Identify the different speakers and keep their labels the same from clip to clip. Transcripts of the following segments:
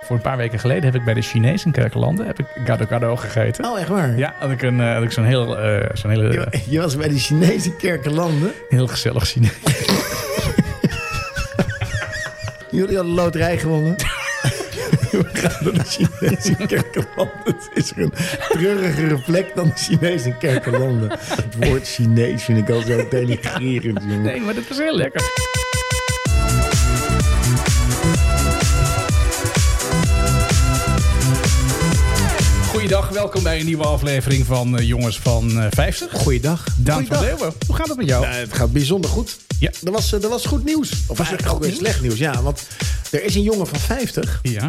Speaker 1: Voor een paar weken geleden heb ik bij de Chinees in Kerkenlanden heb ik gado gado gegeten.
Speaker 2: Oh, echt waar?
Speaker 1: Ja, had ik, een, eh, had ik zo'n heel, eh, zo'n hele,
Speaker 2: Je, je was bij de Chinese kerkenlanden.
Speaker 1: heel gezellig Chinees.
Speaker 2: Jullie hadden loterij gewonnen.
Speaker 1: We gaan door de
Speaker 2: Chinese kerkenlanden. Het is er een treurigere plek dan de Chinese kerkenlanden. Het woord Chinees vind ik al zo denigrerend, jongen.
Speaker 1: Nee, maar dat was heel lekker. Goeiedag, welkom bij een nieuwe aflevering van eh, Jongens van eh, 50.
Speaker 2: Goeiedag.
Speaker 1: Daan van
Speaker 2: Goeiedag.
Speaker 1: Leeuwen, hoe gaat het met jou?
Speaker 2: Nou, het gaat bijzonder goed.
Speaker 1: Ja.
Speaker 2: Er was, eh, er was goed nieuws. Of was er
Speaker 1: goed
Speaker 2: ook weer
Speaker 1: nieuws?
Speaker 2: slecht nieuws? Ja, want er is een jongen van 50
Speaker 1: ja.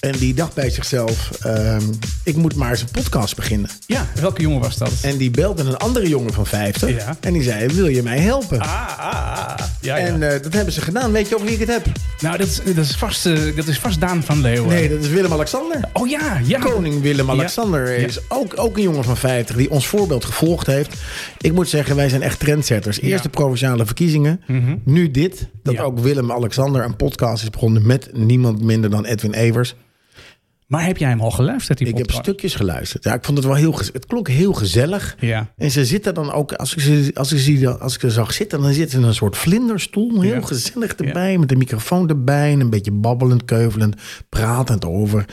Speaker 2: en die dacht bij zichzelf: ehm, ik moet maar eens een podcast beginnen.
Speaker 1: ja, welke jongen was dat?
Speaker 2: En die belde een andere jongen van 50
Speaker 1: Ja.
Speaker 2: en die zei: Wil je mij helpen?
Speaker 1: Ah, ah, ah. Ja, ja.
Speaker 2: En eh, dat hebben ze gedaan. Weet je ook wie ik het heb?
Speaker 1: nou, dat is, dat, is vast, eh, dat is vast Daan van Leeuwen.
Speaker 2: Nee, dat is Willem-Alexander.
Speaker 1: Oh ja, ja.
Speaker 2: Koning Willem-Alexander
Speaker 1: Ja.
Speaker 2: is ook, ook een jongen van 50 die ons voorbeeld gevolgd heeft. Ik moet zeggen, wij zijn echt trendsetters. Eerst
Speaker 1: Ja. Mhm.
Speaker 2: de provinciale verkiezingen, nu dit. Dat
Speaker 1: Ja.
Speaker 2: ook Willem-Alexander een podcast is begonnen met niemand minder dan Edwin Evers.
Speaker 1: Maar heb jij hem al geluisterd, die
Speaker 2: Ik heb
Speaker 1: podcast?
Speaker 2: stukjes geluisterd. Ja, ik vond het wel heel gez- Het klonk heel gezellig.
Speaker 1: Ja.
Speaker 2: En ze zitten dan ook, als ik ze, als ik ze, als ik ze zag zitten, dan zitten ze in een soort vlinderstoel. Heel
Speaker 1: Ja.
Speaker 2: gezellig erbij, met een microfoon erbij. En een beetje babbelend, keuvelend, pratend over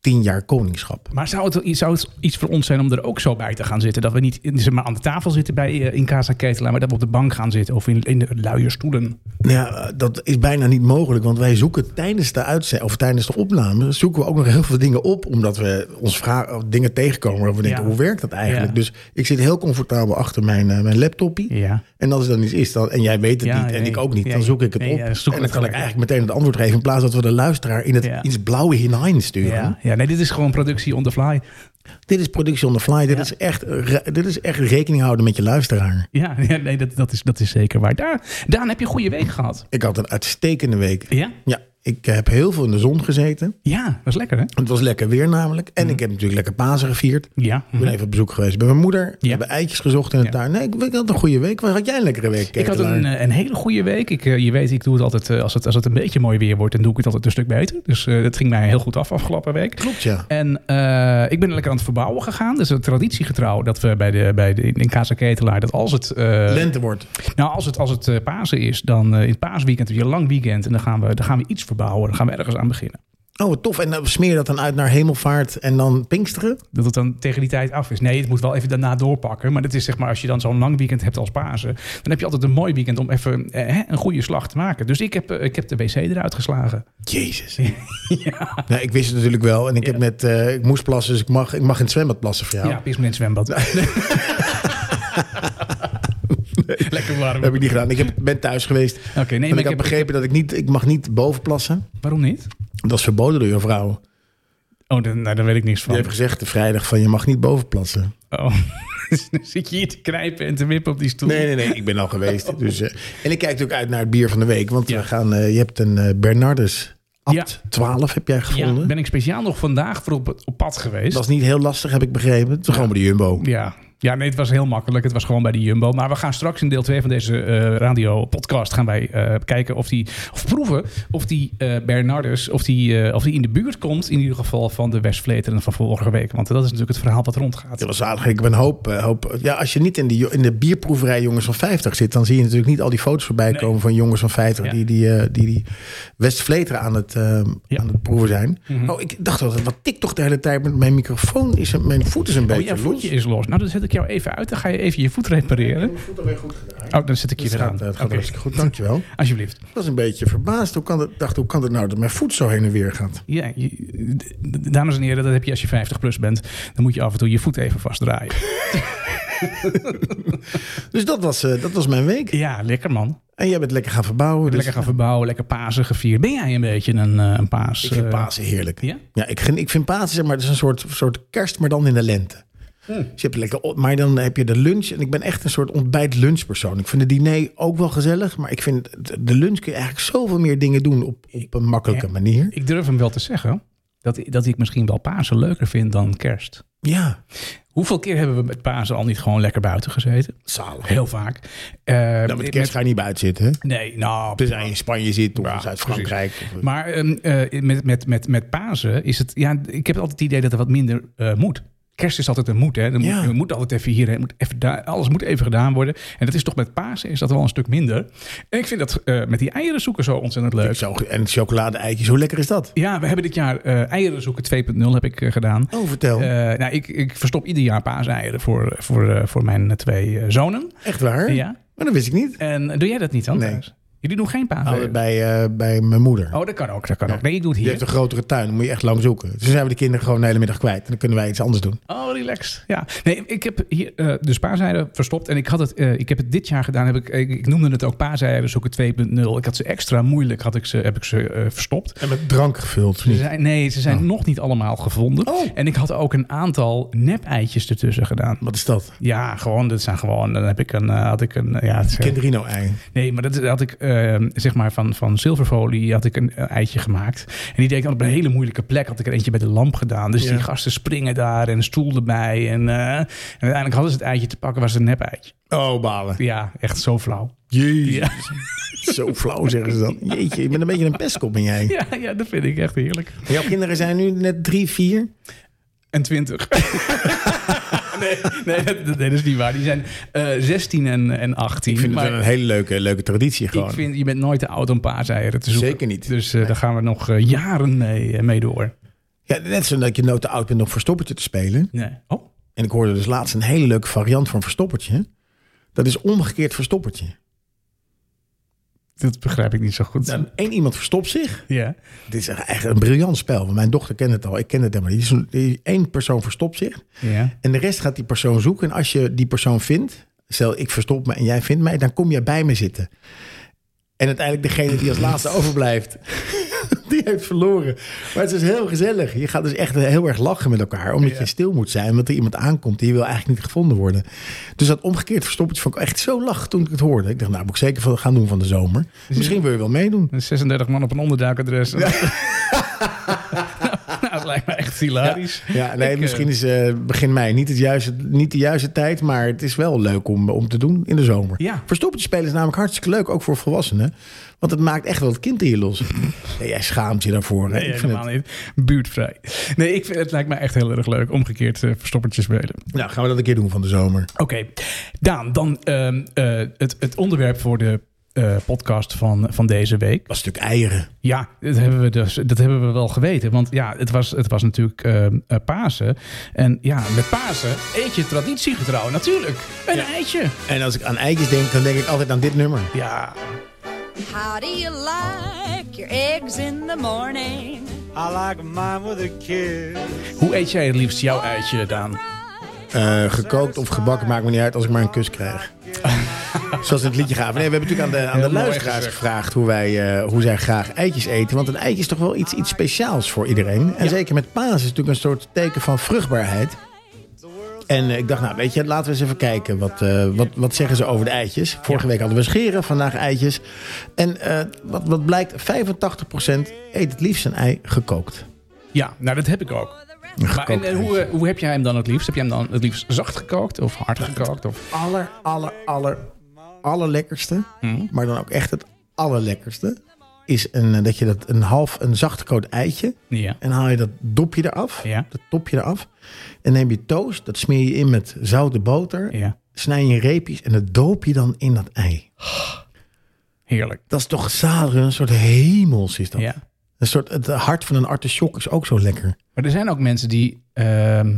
Speaker 2: tien jaar koningschap.
Speaker 1: Maar zou het, wel- zou het iets voor ons zijn om er ook zo bij te gaan zitten? Dat we niet in- zeg maar, aan de tafel zitten bij, eh, in Casa Ketelaar, maar dat we op de bank gaan zitten of in, in de luie stoelen.
Speaker 2: Nou Ja, dat is bijna niet mogelijk, want wij zoeken tijdens de uitzending of tijdens de opname zoeken we ook nog heel veel dingen op, omdat we ons vragen, of dingen tegenkomen waarvan we denken
Speaker 1: Ja.
Speaker 2: hoe werkt dat eigenlijk.
Speaker 1: Ja.
Speaker 2: Dus ik zit heel comfortabel achter mijn, eh, mijn laptopje.
Speaker 1: Ja.
Speaker 2: En als er dan iets is, dan, en jij weet het
Speaker 1: Ja,
Speaker 2: niet en
Speaker 1: nee.
Speaker 2: ik ook niet,
Speaker 1: Ja,
Speaker 2: dan zoek ik het
Speaker 1: nee,
Speaker 2: op.
Speaker 1: ja,
Speaker 2: en
Speaker 1: zoek
Speaker 2: dan kan
Speaker 1: het
Speaker 2: ik
Speaker 1: gelijk.
Speaker 2: eigenlijk meteen het antwoord geven, in plaats dat we de luisteraar in het,
Speaker 1: Ja.
Speaker 2: in het blauwe hinein sturen.
Speaker 1: Ja. ja, nee, dit is gewoon productie on the fly.
Speaker 2: Dit is productie on the fly, dit, is, echt, eh, re- dit is echt rekening houden met je luisteraar.
Speaker 1: Ja, ja nee, dat, dat, is, dat is zeker waar. Daar, Daan, heb je een goede week gehad?
Speaker 2: Ik had een uitstekende week.
Speaker 1: Ja?
Speaker 2: Ja, ik heb heel veel in de zon gezeten.
Speaker 1: Ja, was lekker hè?
Speaker 2: Het was lekker weer namelijk. En
Speaker 1: Mhm.
Speaker 2: ik heb natuurlijk lekker Pasen gevierd.
Speaker 1: Ja.
Speaker 2: Ik ben even op bezoek geweest bij mijn moeder. We
Speaker 1: Mhm. Ja.
Speaker 2: hebben eitjes gezocht in de
Speaker 1: Ja.
Speaker 2: tuin. Nee, ik, ik had een goede week. Waar had jij een lekkere week?
Speaker 1: Ik had een,
Speaker 2: Ketelaar?
Speaker 1: eh, een hele goede week. Ik, eh, je weet, ik doe het altijd eh, als het, als het een beetje mooi weer wordt, dan doe ik het altijd een stuk beter. Dus eh, dat ging mij heel goed af afgelopen week.
Speaker 2: Klopt, ja.
Speaker 1: En eh, ik ben lekker aan het verbouwen gegaan. Dus een traditiegetrouw dat we bij de, bij de, in Casa Ketelaar, dat als het, eh,
Speaker 2: Lente wordt.
Speaker 1: nou, als het, als het eh, Pasen is, dan eh, in het paasweekend heb je een lang weekend. En dan gaan, we, dan gaan we iets verbouwen. Dan gaan we ergens aan beginnen.
Speaker 2: Oh, wat tof. En dan smeer je dat dan uit naar hemelvaart en dan pinksteren?
Speaker 1: Dat het dan tegen die tijd af is. Nee, het moet wel even daarna doorpakken. Maar dat is zeg maar, als je dan zo'n lang weekend hebt als Pasen. dan heb je altijd een mooi weekend om even eh, hè, een goede slag te maken. Dus ik heb, eh, ik heb de wc eruit geslagen.
Speaker 2: Jezus. Nou, ik wist het natuurlijk wel. En ik, heb net, eh, ik moest plassen, dus ik mag, ik mag in het zwembad plassen voor jou.
Speaker 1: Ja, pis me in het zwembad. Lekker warm.
Speaker 2: Dat heb ik niet gedaan. Ik heb, ben thuis geweest.
Speaker 1: Oké, nee, maar
Speaker 2: en
Speaker 1: ik
Speaker 2: ik had
Speaker 1: heb-
Speaker 2: begrepen dat ik niet, ik mag niet boven plassen.
Speaker 1: Waarom niet?
Speaker 2: Dat is verboden door je vrouw.
Speaker 1: Oh, dan, nou, daar weet ik niks
Speaker 2: Die
Speaker 1: van.
Speaker 2: heeft gezegd de vrijdag van je mag niet boven plassen.
Speaker 1: Oh, dan zit je hier te knijpen en te wippen op die stoel.
Speaker 2: Nee, nee, nee, ik ben al geweest. Dus, eh, en ik kijk ook uit naar het bier van de week. Want
Speaker 1: Ja.
Speaker 2: we gaan, eh, je hebt een eh, Bernardus Abt
Speaker 1: Ja.
Speaker 2: 12 heb jij
Speaker 1: Ja,
Speaker 2: gevonden.
Speaker 1: ben ik speciaal nog vandaag voor op, op pad geweest.
Speaker 2: Dat is niet heel lastig, heb ik begrepen. Het is gewoon bij de Jumbo.
Speaker 1: Ja. ja, nee, het was heel makkelijk. Het was gewoon bij de Jumbo. Maar we gaan straks in deel 2 van deze eh radio-podcast... gaan wij eh, kijken of die... of proeven of die eh, Bernardus... Of die, eh, of die in de buurt komt... in ieder geval van de Westvleteren van vorige week. Want dat is natuurlijk het verhaal wat rondgaat.
Speaker 2: Dat was aardig. Ik ben een hoop, eh, hoop. Ja, als je niet in de, jo- in de bierproeverij jongens van 50 zit, dan zie je natuurlijk niet al die foto's voorbij
Speaker 1: Nee.
Speaker 2: komen van jongens van 50
Speaker 1: Ja.
Speaker 2: die, die, eh, die, die Westvleteren aan het, eh,
Speaker 1: Ja.
Speaker 2: aan het proeven zijn.
Speaker 1: Mhm.
Speaker 2: Oh, ik dacht altijd, wat tik toch de hele tijd met mijn microfoon? Is, een- mijn voet is een
Speaker 1: Oh,
Speaker 2: beetje
Speaker 1: jouw voetje
Speaker 2: los.
Speaker 1: is los. Nou, dan zet ik jou even uit. Dan ga je even je voet repareren.
Speaker 2: voet alweer goed gedaan.
Speaker 1: Oh, dan zet ik je
Speaker 2: Het
Speaker 1: weer
Speaker 2: gaat,
Speaker 1: aan.
Speaker 2: eh, het gaat
Speaker 1: Oké,
Speaker 2: hartstikke goed, dankjewel.
Speaker 1: Alsjeblieft.
Speaker 2: Ik was een beetje verbaasd. Hoe kan dat, dacht, hoe kan het nou dat mijn voet zo heen en weer gaat?
Speaker 1: Ja, je- d- d- dames en heren, dat heb je als je 50 plus bent. Dan moet je af en toe je voet even vastdraaien.
Speaker 2: Dus dat was, eh, dat was mijn week.
Speaker 1: Ja, lekker man.
Speaker 2: En jij bent lekker gaan verbouwen. Dus
Speaker 1: lekker gaan verbouwen, lekker Pasen gevierd. Ben jij een beetje een, eh, een paas?
Speaker 2: Ik vind
Speaker 1: eh,
Speaker 2: Pasen heerlijk.
Speaker 1: Ja?
Speaker 2: Ja, ik, geniet- ik vind Pasen, zeg maar, het is een soort, soort kerst, maar dan in de lente. Dus je hebt lekker, op- maar dan heb je de lunch. En ik ben echt een soort ontbijt-lunchpersoon. Ik vind het diner ook wel gezellig. Maar ik vind het- de lunch kun je eigenlijk zoveel meer dingen doen op, op een makkelijke manier.
Speaker 1: Ik durf hem wel te zeggen dat, dat ik misschien wel Pasen leuker vind dan kerst.
Speaker 2: Ja,
Speaker 1: Hoeveel keer hebben we met Pasen al niet gewoon lekker buiten gezeten?
Speaker 2: zalig.
Speaker 1: Heel vaak. Eh,
Speaker 2: Oh. Nou, met kerst ga je niet buiten zitten. hè?
Speaker 1: Nee, nou...
Speaker 2: Tenzij je in Spanje zit of
Speaker 1: Ja,
Speaker 2: in Zuid-Frankrijk. of-
Speaker 1: Maar ehm, eh, met, met, met, met Pasen is het... Ja, ik heb altijd het idee dat er wat minder eh, moet. Kerst is altijd een moet, hè. Er moet,
Speaker 2: Ja.
Speaker 1: er moet altijd even hier, hè. Er moet even daar- alles moet even gedaan worden. En dat is toch met Pasen is dat wel een stuk minder. En ik vind dat eh, met die eieren zoeken zo ontzettend leuk.
Speaker 2: Zo, en het chocolade-eitje, hoe lekker is dat?
Speaker 1: Ja, we hebben dit jaar eh eieren zoeken 2.0 heb ik eh, gedaan.
Speaker 2: Oh, vertel.
Speaker 1: Eh, nou, ik, ik verstop ieder jaar paaseieren voor, voor, eh, voor mijn eh, twee eh, zonen.
Speaker 2: Echt waar?
Speaker 1: Ja.
Speaker 2: Maar dat wist ik niet.
Speaker 1: En eh, doe jij dat niet dan?
Speaker 2: Nee.
Speaker 1: thuis? Jullie doen geen
Speaker 2: Nou,
Speaker 1: paaseieren?
Speaker 2: bij, eh, bij mijn moeder.
Speaker 1: Oh, dat kan ook. Dat kan ook. Nee, ik doe het
Speaker 2: Die
Speaker 1: hier.
Speaker 2: heeft een grotere tuin, dan moet je echt lang zoeken. Dus dan zijn we de kinderen gewoon de hele middag kwijt. En dan kunnen wij iets anders doen.
Speaker 1: Oh, relaxed. Ja. Nee, ik heb hier eh dus paaseieren verstopt. En ik, had het, eh, ik heb het dit jaar gedaan. Heb ik, ik, ik noemde het ook paaseieren zoeken 2.0. Ik had ze extra moeilijk had ik ze, heb ik ze eh, verstopt.
Speaker 2: En met drank gevuld.
Speaker 1: Ze zijn, nee, ze zijn
Speaker 2: Oh.
Speaker 1: nog niet allemaal gevonden.
Speaker 2: Oh.
Speaker 1: En ik had ook een aantal nep-eitjes ertussen gedaan.
Speaker 2: Wat is dat?
Speaker 1: Ja, gewoon. Dat zijn gewoon. Dan heb ik een. eh, had ik een. eh, Ja, het zijn-
Speaker 2: Kinderino-ei.
Speaker 1: nee, maar dat had ik. eh, zeg maar van, van zilverfolie had ik een eh, eitje gemaakt. En die deed ik dan op een hele moeilijke plek. Had ik er eentje bij de lamp gedaan. Dus
Speaker 2: Ja.
Speaker 1: die gasten springen daar en een stoel erbij. En, eh, en uiteindelijk hadden ze het eitje te pakken. Was het een nep eitje.
Speaker 2: Oh, balen.
Speaker 1: Ja, echt zo flauw.
Speaker 2: Jezus. Zo flauw zeggen ze dan. Jeetje, je bent een beetje een pestkop in jij.
Speaker 1: Ja, ja dat vind ik echt heerlijk.
Speaker 2: Jouw kinderen zijn nu net drie, vier.
Speaker 1: En 20. nee, nee, dat, dat- nee, dat is niet waar. Die zijn eh 16 en, en 18.
Speaker 2: Ik vind
Speaker 1: maar-
Speaker 2: het wel een hele leuke, leuke traditie gewoon.
Speaker 1: Ik vind, je bent nooit te oud om paaseieren te zoeken.
Speaker 2: Zeker niet.
Speaker 1: Dus eh, daar gaan we nog eh, jaren mee, eh, mee door.
Speaker 2: Ja, net zo dat je nooit te oud bent om verstoppertje te spelen.
Speaker 1: Nee. Oh,
Speaker 2: En ik hoorde dus laatst een hele leuke variant van verstoppertje. Dat is omgekeerd verstoppertje.
Speaker 1: dat begrijp ik niet zo goed.
Speaker 2: Nou, één iemand verstopt zich.
Speaker 1: ja.
Speaker 2: Dit is echt een briljant spel. want Mijn dochter kent het al. Ik ken het helemaal niet. Dus die- één persoon verstopt zich.
Speaker 1: ja.
Speaker 2: En de rest gaat die persoon zoeken. En als je die persoon vindt, stel ik verstop me en jij vindt mij, dan kom jij bij me zitten. En uiteindelijk degene die als laatste overblijft, die heeft verloren. Maar het is heel gezellig. Je gaat dus echt heel erg lachen met elkaar, omdat
Speaker 1: Ja.
Speaker 2: je stil moet zijn, omdat er iemand aankomt die wil eigenlijk niet gevonden worden. Dus dat omgekeerd verstoppertje vond ik echt zo lach toen ik het hoorde. Ik dacht, nou moet ik zeker van- gaan doen van de zomer. Misschien wil je wel meedoen.
Speaker 1: 36 man op een onderduikadres. nou, dat lijkt me echt hilarisch.
Speaker 2: Ja, nee,
Speaker 1: Ik, eh,
Speaker 2: misschien is eh, begin mei niet, het juiste, niet de juiste tijd, maar het is wel leuk om, om te doen in de zomer.
Speaker 1: Ja.
Speaker 2: Verstoppertje spelen is namelijk hartstikke leuk, ook voor volwassenen. Want het maakt echt wel het kind in je los. nee, jij schaamt je daarvoor. hè?
Speaker 1: Nee,
Speaker 2: ik vind
Speaker 1: helemaal niet. Buurtvrij. Nee, ik vind, het lijkt me echt heel erg leuk. Omgekeerd eh verstoppertjes spelen.
Speaker 2: het- Nou, gaan we dat een keer doen van de zomer.
Speaker 1: Oké, Daan, dan ehm, eh, het, het onderwerp voor de eh, podcast van, van deze week.
Speaker 2: Dat is natuurlijk eieren.
Speaker 1: Ja, dat hebben we, dus, dat hebben we wel geweten. Want ja, het was, het was natuurlijk ehm, eh, Pasen. En ja, met Pasen eet je traditiegetrouw natuurlijk. Een
Speaker 2: Ja.
Speaker 1: eitje.
Speaker 2: En als ik aan eitjes denk, dan denk ik altijd aan dit nummer.
Speaker 1: Ja,
Speaker 3: How do you like your eggs in the morning?
Speaker 4: I like mine with a kiss.
Speaker 1: hoe eet jij het liefst jouw eitje, Daan?
Speaker 2: Eh, gekookt of gebakken, maakt me niet uit als ik maar een kus krijg. Zoals in het liedje gaven. Nee, we hebben natuurlijk aan de, aan
Speaker 1: Heel
Speaker 2: de
Speaker 1: mooi
Speaker 2: luisteraars
Speaker 1: gezegd.
Speaker 2: gevraagd hoe, wij, eh, hoe zij graag eitjes eten. Want een eitje is toch wel iets, iets speciaals voor iedereen. En zeker met Paas is het natuurlijk een soort teken van vruchtbaarheid. En eh, ik dacht, nou weet je, laten we eens even kijken. Wat, eh, wat, wat zeggen ze over de eitjes? Vorige week hadden we scheren, vandaag eitjes. En eh, wat, wat blijkt, 85% eet het liefst een ei gekookt.
Speaker 1: Ja, nou dat heb ik ook. Maar, en
Speaker 2: gekookt
Speaker 1: en hoe, eh, hoe heb jij hem dan het liefst? Heb jij hem dan het liefst zacht gekookt of hard gekookt? Of...
Speaker 2: aller, aller, aller, allerlekkerste, maar dan ook echt het allerlekkerste, is een, eh, dat je dat een half, een zachtgekoot eitje,
Speaker 1: Ja.
Speaker 2: en haal je dat dopje eraf,
Speaker 1: Ja.
Speaker 2: dat topje eraf, en neem je toast, dat smeer je in met zoute boter,
Speaker 1: ja,
Speaker 2: snij je in reepjes en dat doop je dan in dat ei.
Speaker 1: heerlijk.
Speaker 2: Dat is toch zalig, een soort hemels is dat.
Speaker 1: Ja.
Speaker 2: Een soort, het hart van een artichok is ook zo lekker.
Speaker 1: Maar er zijn ook mensen die, ehm,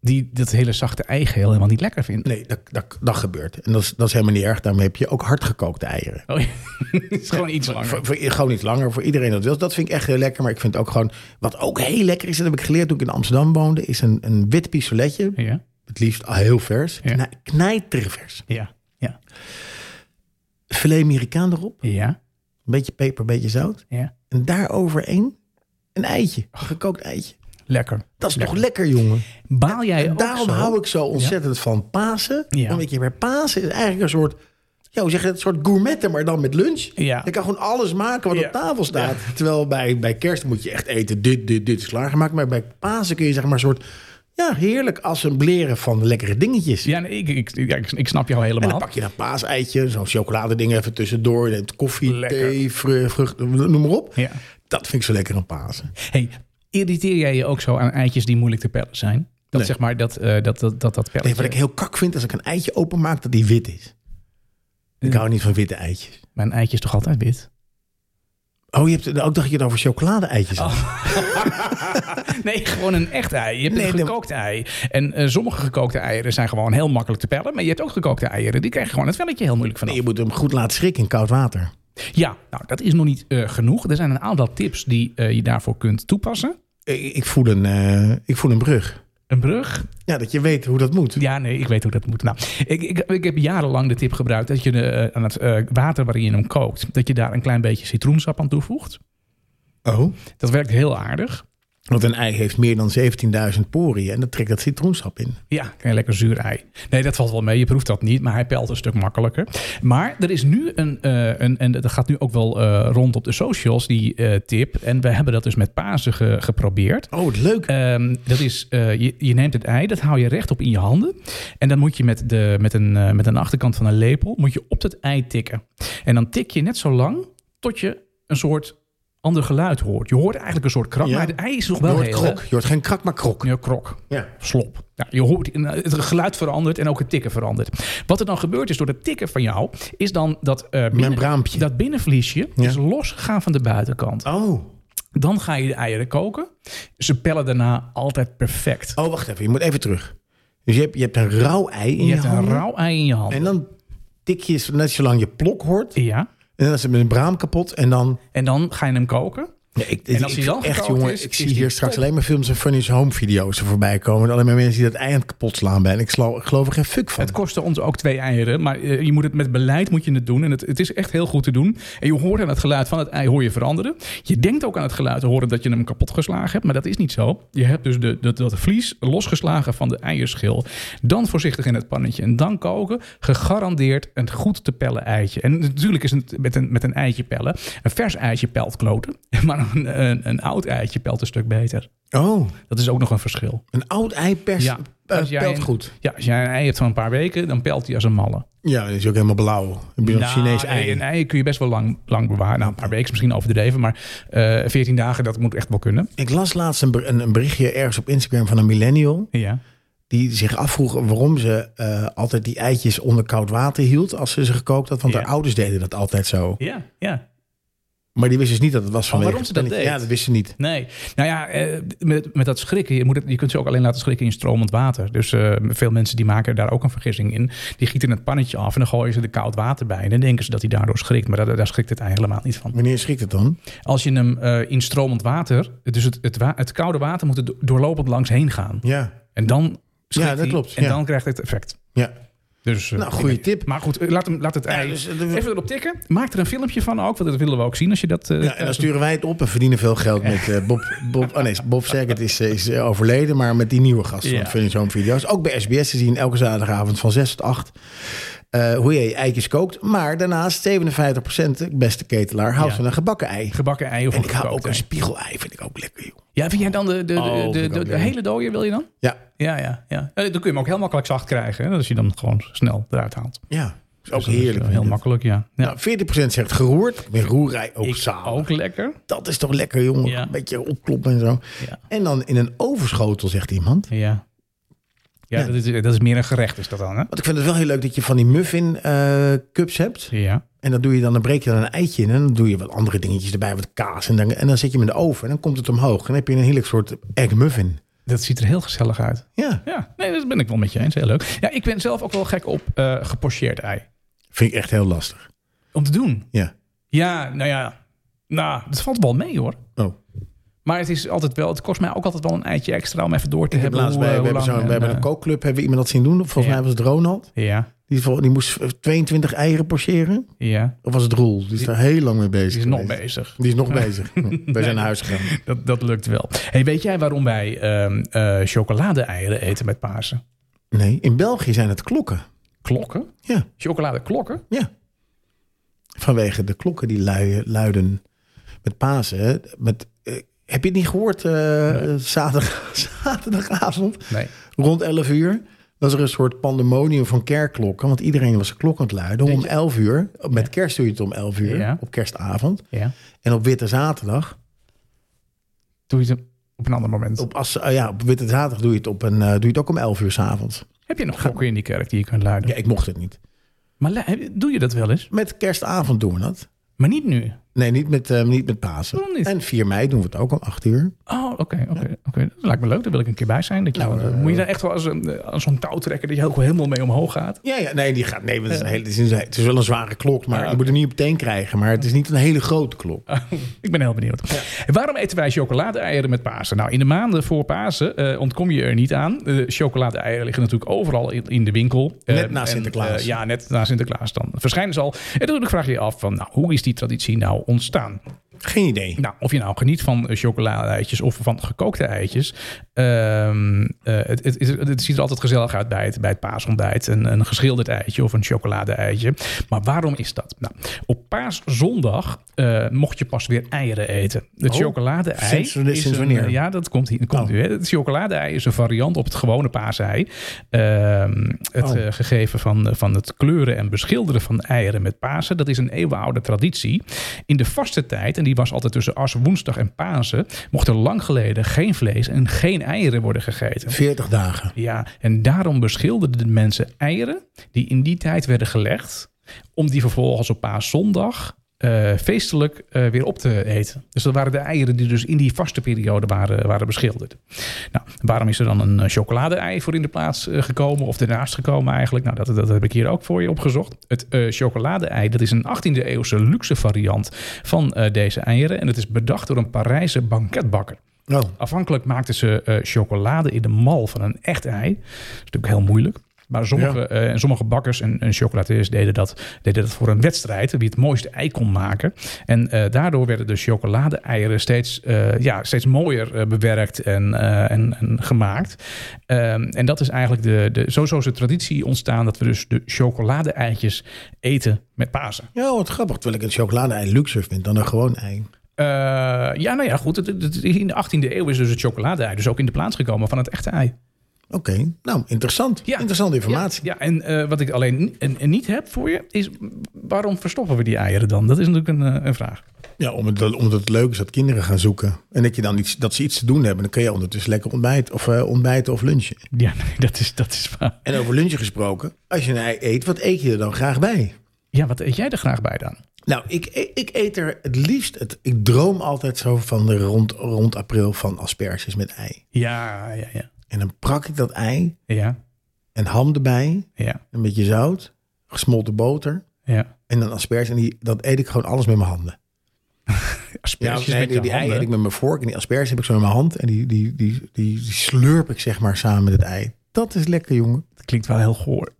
Speaker 1: die dat hele zachte eigeel helemaal niet lekker vinden.
Speaker 2: Nee, dat, dat, dat gebeurt. En dat is, dat is helemaal niet erg, daarmee heb je ook hardgekookte eieren.
Speaker 1: Oh, ja. het is gewoon iets langer.
Speaker 2: Voor, voor, gewoon niet langer, voor iedereen dat wil. Dat vind ik echt heel lekker. Maar ik vind het ook gewoon... Wat ook heel lekker is, dat heb ik geleerd toen ik in Amsterdam woonde... is een, een wit pistoletje.
Speaker 1: Ja,
Speaker 2: Het liefst al heel vers.
Speaker 1: Ja.
Speaker 2: Ja. Knijtervers.
Speaker 1: ja, ja.
Speaker 2: Filet Amerikaan erop.
Speaker 1: Ja,
Speaker 2: Een beetje peper, een beetje zout.
Speaker 1: ja.
Speaker 2: En daaroverheen een eitje. Een gekookt eitje.
Speaker 1: Lekker.
Speaker 2: Dat is toch lekker, jongen?
Speaker 1: Baal jij ook
Speaker 2: Daarom
Speaker 1: zo?
Speaker 2: hou ik zo ontzettend van Pasen.
Speaker 1: Ja.
Speaker 2: Omdat je bij Pasen is eigenlijk een soort... Ja, hoe zeg je dat? Een soort gourmetten, maar dan met lunch.
Speaker 1: Ja.
Speaker 2: Je kan gewoon alles maken wat
Speaker 1: Ja.
Speaker 2: op tafel staat. Terwijl bij, bij kerst moet je echt eten. Dit, dit, dit is klaargemaakt. Maar bij Pasen kun je zeg maar een soort... Ja, heerlijk als een bleren van lekkere dingetjes.
Speaker 1: Ja, nee, ik, ik, ja, ik, ik snap jou
Speaker 2: En
Speaker 1: helemaal.
Speaker 2: dan pak je een paaseitje, zo'n chocoladeding even tussendoor. Je neemt koffie,
Speaker 1: Lekker.
Speaker 2: thee, vru- vruchten, noem maar op.
Speaker 1: Ja.
Speaker 2: Dat vind ik zo lekker aan Pasen.
Speaker 1: Hey, irriteer jij je ook zo aan eitjes die moeilijk te pellen zijn? Dat
Speaker 2: Nee.
Speaker 1: zeg maar dat eh, dat, dat, dat, dat
Speaker 2: Nee,
Speaker 1: pelletje.
Speaker 2: wat ik heel kak vind, als ik een eitje openmaak, dat die wit is. Ik
Speaker 1: Ja.
Speaker 2: hou niet van witte eitjes.
Speaker 1: Mijn eitje is toch altijd wit?
Speaker 2: Oh, je hebt ook dacht dat je het over chocolade-eitjes had.
Speaker 1: Nee, gewoon een echt ei. Je hebt
Speaker 2: Nee,
Speaker 1: een
Speaker 2: nee.
Speaker 1: gekookt ei. En eh, sommige gekookte eieren zijn gewoon heel makkelijk te pellen. Maar je hebt ook gekookte eieren. Die krijgen gewoon het velletje heel moeilijk vanaf.
Speaker 2: Nee, je moet hem goed laten schrikken in koud water.
Speaker 1: Ja, nou, dat is nog niet eh, genoeg. Er zijn een aantal tips die eh, je daarvoor kunt toepassen.
Speaker 2: Ik, ik, voel een, eh, ik voel een brug.
Speaker 1: Een brug?
Speaker 2: Ja, dat je weet hoe dat moet.
Speaker 1: Ja, nee, ik weet hoe dat moet. Nou, ik, ik, ik heb jarenlang de tip gebruikt dat je eh, aan het eh, water waarin je hem kookt, dat je daar een klein beetje citroensap aan toevoegt.
Speaker 2: Oh.
Speaker 1: Dat werkt heel aardig.
Speaker 2: Want een ei heeft meer dan 17.000 poriën en dat trekt dat citroensap in.
Speaker 1: Ja, krijg je lekker zuur ei. Nee, dat valt wel mee. Je proeft dat niet, maar hij pelt een stuk makkelijker. Maar er is nu een, eh, een en dat gaat nu ook wel eh, rond op de socials, die eh, tip. En we hebben dat dus met Pasen ge- geprobeerd.
Speaker 2: Oh, wat leuk.
Speaker 1: Ehm, dat is, eh, je, je neemt het ei, dat hou je rechtop in je handen. En dan moet je met, de, met, een, eh, met een achterkant van een lepel moet je op dat ei tikken. En dan tik je net zo lang tot je een soort ander geluid hoort. Je hoort eigenlijk een soort krak,
Speaker 2: Ja.
Speaker 1: maar het ei is nog
Speaker 2: je
Speaker 1: wel
Speaker 2: hoort
Speaker 1: heel...
Speaker 2: krok. Je hoort geen krak, maar krok.
Speaker 1: Ja, krok
Speaker 2: Ja.
Speaker 1: slop. Ja, Nou, je hoort, eh, het geluid verandert en ook het tikken verandert. Wat er dan gebeurt is door het tikken van jou, is dan dat, eh binnen,
Speaker 2: Membraampje.
Speaker 1: dat binnenvliesje
Speaker 2: Ja.
Speaker 1: is losgegaan van de buitenkant.
Speaker 2: Oh.
Speaker 1: Dan ga je de eieren koken. Ze pellen daarna altijd perfect.
Speaker 2: Oh, wacht even. Je moet even terug. Dus je hebt, je hebt een rauw ei in
Speaker 1: Je
Speaker 2: je,
Speaker 1: hebt een
Speaker 2: handen.
Speaker 1: rauw ei in je hand.
Speaker 2: En dan tik je zo- net zolang je plok hoort.
Speaker 1: Ja.
Speaker 2: En dan is het met een braam kapot. En dan...
Speaker 1: En dan ga je hem koken.
Speaker 2: Nee, ik,
Speaker 1: En als
Speaker 2: ik-
Speaker 1: die dan
Speaker 2: echt,
Speaker 1: gekookt
Speaker 2: jongen,
Speaker 1: is,
Speaker 2: ik
Speaker 1: is
Speaker 2: zie
Speaker 1: die
Speaker 2: hier straks
Speaker 1: top.
Speaker 2: alleen maar films en funny home video's er voorbij komen. En alleen maar mensen die dat ei aan het kapot slaan bij. En ik, sla, ik geloof er geen fuck van.
Speaker 1: Het kostte ons ook twee eieren. Maar eh, je moet het met beleid moet je het doen. En het, het is echt heel goed te doen. En je hoort aan het geluid van het ei hoor je veranderen. Je denkt ook aan het geluid te horen dat je hem kapot geslagen hebt. Maar dat is niet zo. Je hebt dus de, de, dat vlies losgeslagen van de eierschil. Dan voorzichtig in het pannetje. En dan koken. Gegarandeerd een goed te pellen eitje. En natuurlijk is het met een, met een eitje pellen. Een vers eitje pelt kloten. Maar een, een, een oud eitje pelt een stuk beter.
Speaker 2: Oh,
Speaker 1: Dat is ook nog een verschil.
Speaker 2: een oud ei pers,
Speaker 1: Ja,
Speaker 2: eh,
Speaker 1: als jij
Speaker 2: pelt
Speaker 1: een-
Speaker 2: goed.
Speaker 1: Ja, als jij een ei hebt van een paar weken, dan pelt hij als een malle.
Speaker 2: Ja, dat is ook helemaal blauw. Heb je nog
Speaker 1: Nou,
Speaker 2: Chinees
Speaker 1: nee,
Speaker 2: ei?
Speaker 1: Een ei kun je best wel lang, lang bewaren. Nou, een paar weken is misschien overdreven, maar eh 14 dagen, dat moet echt wel kunnen.
Speaker 2: Ik las laatst een, ber- een, een berichtje ergens op Instagram van een millennial.
Speaker 1: Ja.
Speaker 2: Die zich afvroeg waarom ze eh, altijd die eitjes onder koud water hield als ze ze gekookt had. Want
Speaker 1: Ja.
Speaker 2: haar ouders deden dat altijd zo.
Speaker 1: Ja, ja.
Speaker 2: Maar die wist dus niet dat het was vanwege...
Speaker 1: waarom ze dat
Speaker 2: het
Speaker 1: deed?
Speaker 2: Ja, dat wist ze niet.
Speaker 1: Nee. Nou ja, eh, met, met dat schrikken, je, moet het, je kunt ze ook alleen laten schrikken in stromend water. Dus eh, veel mensen die maken daar ook een vergissing in. Die gieten het pannetje af en dan gooien ze er koud water bij. En dan denken ze dat hij daardoor schrikt, maar daar, daar schrikt het ei helemaal niet van.
Speaker 2: Wanneer schrikt het dan?
Speaker 1: Als je hem eh, in stromend water, dus het, het, wa- het koude water moet er do- doorlopend langs heen gaan.
Speaker 2: Ja.
Speaker 1: En dan schrikt
Speaker 2: dat
Speaker 1: hij
Speaker 2: klopt,
Speaker 1: En
Speaker 2: ja.
Speaker 1: dan krijgt het effect.
Speaker 2: ja.
Speaker 1: Dus, eh,
Speaker 2: Nou, goede tip.
Speaker 1: Maar goed, eh, laat, hem, laat het ei.
Speaker 2: dus, eh,
Speaker 1: Even erop tikken. Maak er een filmpje van ook, want dat willen we ook zien als je dat. eh,
Speaker 2: Ja, en dan sturen wij het op en verdienen veel geld met eh, Bob. Bob, oh nee, Bob Saget is, eh, is eh, overleden, maar met die nieuwe gast
Speaker 1: Ja.
Speaker 2: van Funny Home Video's. Ook bij SBS te zien elke zaterdagavond van 6 tot 8. eh, hoe je je eitjes kookt. Maar daarnaast 57% de beste ketelaar houdt
Speaker 1: Ja.
Speaker 2: van een gebakken ei.
Speaker 1: gebakken ei of
Speaker 2: En ik hou
Speaker 1: gekookt
Speaker 2: ook een
Speaker 1: ei.
Speaker 2: spiegelei, vind ik ook lekker, joh.
Speaker 1: Ja, vind jij dan de, de, de, de,
Speaker 2: Oh, vind ik
Speaker 1: de-
Speaker 2: ook,
Speaker 1: de
Speaker 2: ja.
Speaker 1: hele dode wil je dan?
Speaker 2: Ja,
Speaker 1: Ja, ja, ja. Eh, Dan kun je hem ook heel makkelijk zacht krijgen. Hè, als je hem gewoon snel eruit haalt.
Speaker 2: ja. Is ook
Speaker 1: Dus dat is,
Speaker 2: heerlijk.
Speaker 1: eh, heel
Speaker 2: vind ik.
Speaker 1: makkelijk, ja. ja.
Speaker 2: Nou, 40% zegt geroerd. Met roerij ook
Speaker 1: Ik
Speaker 2: samen.
Speaker 1: ook lekker.
Speaker 2: Dat is toch lekker, jongen.
Speaker 1: Ja.
Speaker 2: Een beetje opkloppen en zo.
Speaker 1: Ja.
Speaker 2: En dan in een overschotel, zegt iemand.
Speaker 1: Ja. Ja,
Speaker 2: Ja.
Speaker 1: Dat, is, dat is meer een gerecht, is dat dan, hè?
Speaker 2: Want ik vind het wel heel leuk dat je van die muffin eh, cups hebt.
Speaker 1: Ja.
Speaker 2: En dat doe je dan, dan breek je dan een eitje in. En dan doe je wat andere dingetjes erbij, wat kaas. En dan, en dan zet je hem in de oven. En dan komt het omhoog. En dan heb je een heerlijk soort egg muffin.
Speaker 1: Dat ziet er heel gezellig uit.
Speaker 2: Ja,
Speaker 1: Ja, nee, dat ben ik wel met je eens. Heel leuk. Ja, ik ben zelf ook wel gek op eh, gepocheerd ei.
Speaker 2: vind ik echt heel lastig.
Speaker 1: Om te doen.
Speaker 2: Ja.
Speaker 1: Ja, nou ja. Nou, dat valt wel mee hoor.
Speaker 2: Oh.
Speaker 1: Maar het, is altijd wel, het kost mij ook altijd wel een eitje extra om even door te
Speaker 2: Ik heb
Speaker 1: hebben.
Speaker 2: laatst bij,
Speaker 1: hoe,
Speaker 2: we
Speaker 1: eh,
Speaker 2: hebben,
Speaker 1: hoe lang
Speaker 2: zo'n- we hebben
Speaker 1: en,
Speaker 2: een kookclub, hebben we iemand dat zien doen. Volgens
Speaker 1: Ja.
Speaker 2: mij was het Ronald.
Speaker 1: eh, Ja,
Speaker 2: Die, vol- die moest 22 eieren pocheren.
Speaker 1: ja.
Speaker 2: Of was het Roel? Die is daar heel lang mee bezig.
Speaker 1: Die is nog
Speaker 2: geweest.
Speaker 1: bezig.
Speaker 2: Die is nog bezig. Wij zijn naar huis gegaan.
Speaker 1: Dat, dat lukt wel. Hey, weet jij waarom wij ehm eh, chocolade-eieren eten met Pasen?
Speaker 2: Nee, in België zijn het klokken.
Speaker 1: Klokken?
Speaker 2: Ja,
Speaker 1: Chocoladeklokken?
Speaker 2: ja. Vanwege de klokken die luien, luiden met Pasen. hè, Met, eh, Heb je het niet gehoord eh, zaterdag, zaterdagavond?
Speaker 1: Nee.
Speaker 2: Rond 11 uur was er een soort pandemonium van kerkklokken. Want iedereen was de klok aan het luiden. Om 11 uur, met kerst doe je het om 11 uur,
Speaker 1: Ja.
Speaker 2: op kerstavond.
Speaker 1: Ja.
Speaker 2: En op Witte Zaterdag,
Speaker 1: Doe je ze op een ander moment.
Speaker 2: op, as, ah ja, op Witte Zaterdag doe je het, op een, eh, doe je het ook om 11 uur s'avonds.
Speaker 1: Heb je nog gokken in die kerk die je kunt luiden?
Speaker 2: Ja, ik mocht het niet.
Speaker 1: Maar lu- doe je dat wel eens?
Speaker 2: Met kerstavond doen we dat.
Speaker 1: Maar niet nu.
Speaker 2: Nee, niet met, eh, niet met Pasen.
Speaker 1: Waarom niet?
Speaker 2: En 4 mei doen we het ook om 8 uur.
Speaker 1: Oh, oké, oké, oké. Dat lijkt me leuk. Daar wil ik een keer bij zijn. Dat je,
Speaker 2: Nou, eh,
Speaker 1: moet je dan echt wel als, een, als zo'n touw trekken dat je ook wel helemaal mee omhoog gaat?
Speaker 2: Ja, ja, nee, die gaat. Nee, want het, is een hele, het, is een- het is wel een zware klok, maar
Speaker 1: Ja, Ah.
Speaker 2: je moet er niet op teen krijgen. Maar het is niet een hele grote klok.
Speaker 1: Ik ben heel benieuwd. En Waarom eten wij chocolade-eieren met Pasen? Nou, in de maanden voor Pasen eh, ontkom je er niet aan. Eh chocolade-eieren liggen natuurlijk overal in, in de winkel.
Speaker 2: Net
Speaker 1: Eh,
Speaker 2: na
Speaker 1: en,
Speaker 2: Sinterklaas.
Speaker 1: eh, ja, net na Sinterklaas dan. Verschijnen ze al. En natuurlijk vraag je je af van, nou, hoe is die traditie nou ontstaan?
Speaker 2: Geen idee.
Speaker 1: Nou, of je nou geniet van eh, chocolade-eitjes of van gekookte eitjes. Ehm, eh, het, het, het, het ziet er altijd gezellig uit bij het, bij het paasontbijt. Een, een geschilderd eitje of een chocolade-eitje. Maar waarom is dat? Nou, op paaszondag eh, mocht je pas weer eieren eten. Het
Speaker 2: Oh,
Speaker 1: chocolade-ei...
Speaker 2: sinds-
Speaker 1: is
Speaker 2: sinds
Speaker 1: een,
Speaker 2: wanneer?
Speaker 1: eh, ja, dat komt, hier, dat komt
Speaker 2: Oh.
Speaker 1: nu. Hè. Het chocolade-ei is een variant op het gewone paasei. Ehm, het
Speaker 2: Oh.
Speaker 1: eh, gegeven van, van het kleuren en beschilderen van eieren met Pasen. Dat is een eeuwenoude traditie. In de vaste tijd, en die was altijd tussen as woensdag en Pasen, mocht er lang geleden geen vlees en geen eieren worden gegeten.
Speaker 2: 40 dagen.
Speaker 1: Ja, en daarom beschilderden de mensen eieren die in die tijd werden gelegd, om die vervolgens op paaszondag eh, feestelijk eh, weer op te eten. Dus dat waren de eieren die dus in die vaste periode waren, waren beschilderd. Nou, waarom is er dan een eh, chocolade-ei voor in de plaats eh, gekomen of ernaast gekomen eigenlijk? Nou, dat, dat heb ik hier ook voor je opgezocht. Het eh chocolade-ei, dat is een 18e eeuwse luxe variant van eh, deze eieren en het is bedacht door een Parijse banketbakker.
Speaker 2: Oh,
Speaker 1: Afhankelijk maakten ze eh, chocolade in de mal van een echt ei. Dat is natuurlijk heel moeilijk. Maar sommige,
Speaker 2: Ja.
Speaker 1: eh, en sommige bakkers en, en chocolatiers deden dat, deden dat voor een wedstrijd. Wie het mooiste ei kon maken. En eh, daardoor werden de chocolade-eieren steeds, eh, ja, steeds mooier eh, bewerkt en, eh, en, en gemaakt. Ehm, en dat is eigenlijk de, de, sowieso is de traditie ontstaan... dat we dus de chocolade-eitjes eten met Pasen.
Speaker 2: ja, wat grappig. Terwijl ik een chocolade-ei luxer vind dan een gewoon ei.
Speaker 1: Eh, ja, nou ja, goed. het- het- het- in de 18e eeuw is dus het chocolade-ei... dus ook in de plaats gekomen van het echte ei.
Speaker 2: Oké, nou, interessant.
Speaker 1: Ja.
Speaker 2: Interessante informatie.
Speaker 1: Ja, en eh, wat ik alleen ni- en, en niet heb voor je is waarom verstoppen we die eieren dan? Dat is natuurlijk een, eh, een vraag.
Speaker 2: Ja, omdat, het, omdat het leuk is dat kinderen gaan zoeken. En dat, je dan iets, dat ze iets te doen hebben. Dan kun je ondertussen lekker ontbijten of, eh, ontbijten of lunchen.
Speaker 1: Ja, nee, dat is, dat is waar.
Speaker 2: En over lunchen gesproken. Als je een ei eet, wat eet je er dan graag bij?
Speaker 1: Ja, wat eet jij er graag bij dan?
Speaker 2: Nou, ik, ik eet er het liefst. Het, ik droom altijd zo van de rond, rond april van asperges met ei.
Speaker 1: Ja, ja, ja.
Speaker 2: En dan prak ik dat ei
Speaker 1: Ja,
Speaker 2: en ham erbij,
Speaker 1: ja,
Speaker 2: een beetje zout, gesmolten boter
Speaker 1: ja.
Speaker 2: en dan asperges. En die, dat eet ik gewoon alles met mijn handen.
Speaker 1: Asperges
Speaker 2: nee,
Speaker 1: met
Speaker 2: die,
Speaker 1: je
Speaker 2: die ei
Speaker 1: handen.
Speaker 2: eet ik met mijn vork en die asperges heb ik zo in mijn hand. En die, die, die, die, die slurp ik zeg maar samen met het ei. Dat is lekker, jongen.
Speaker 1: Dat klinkt wel heel goor.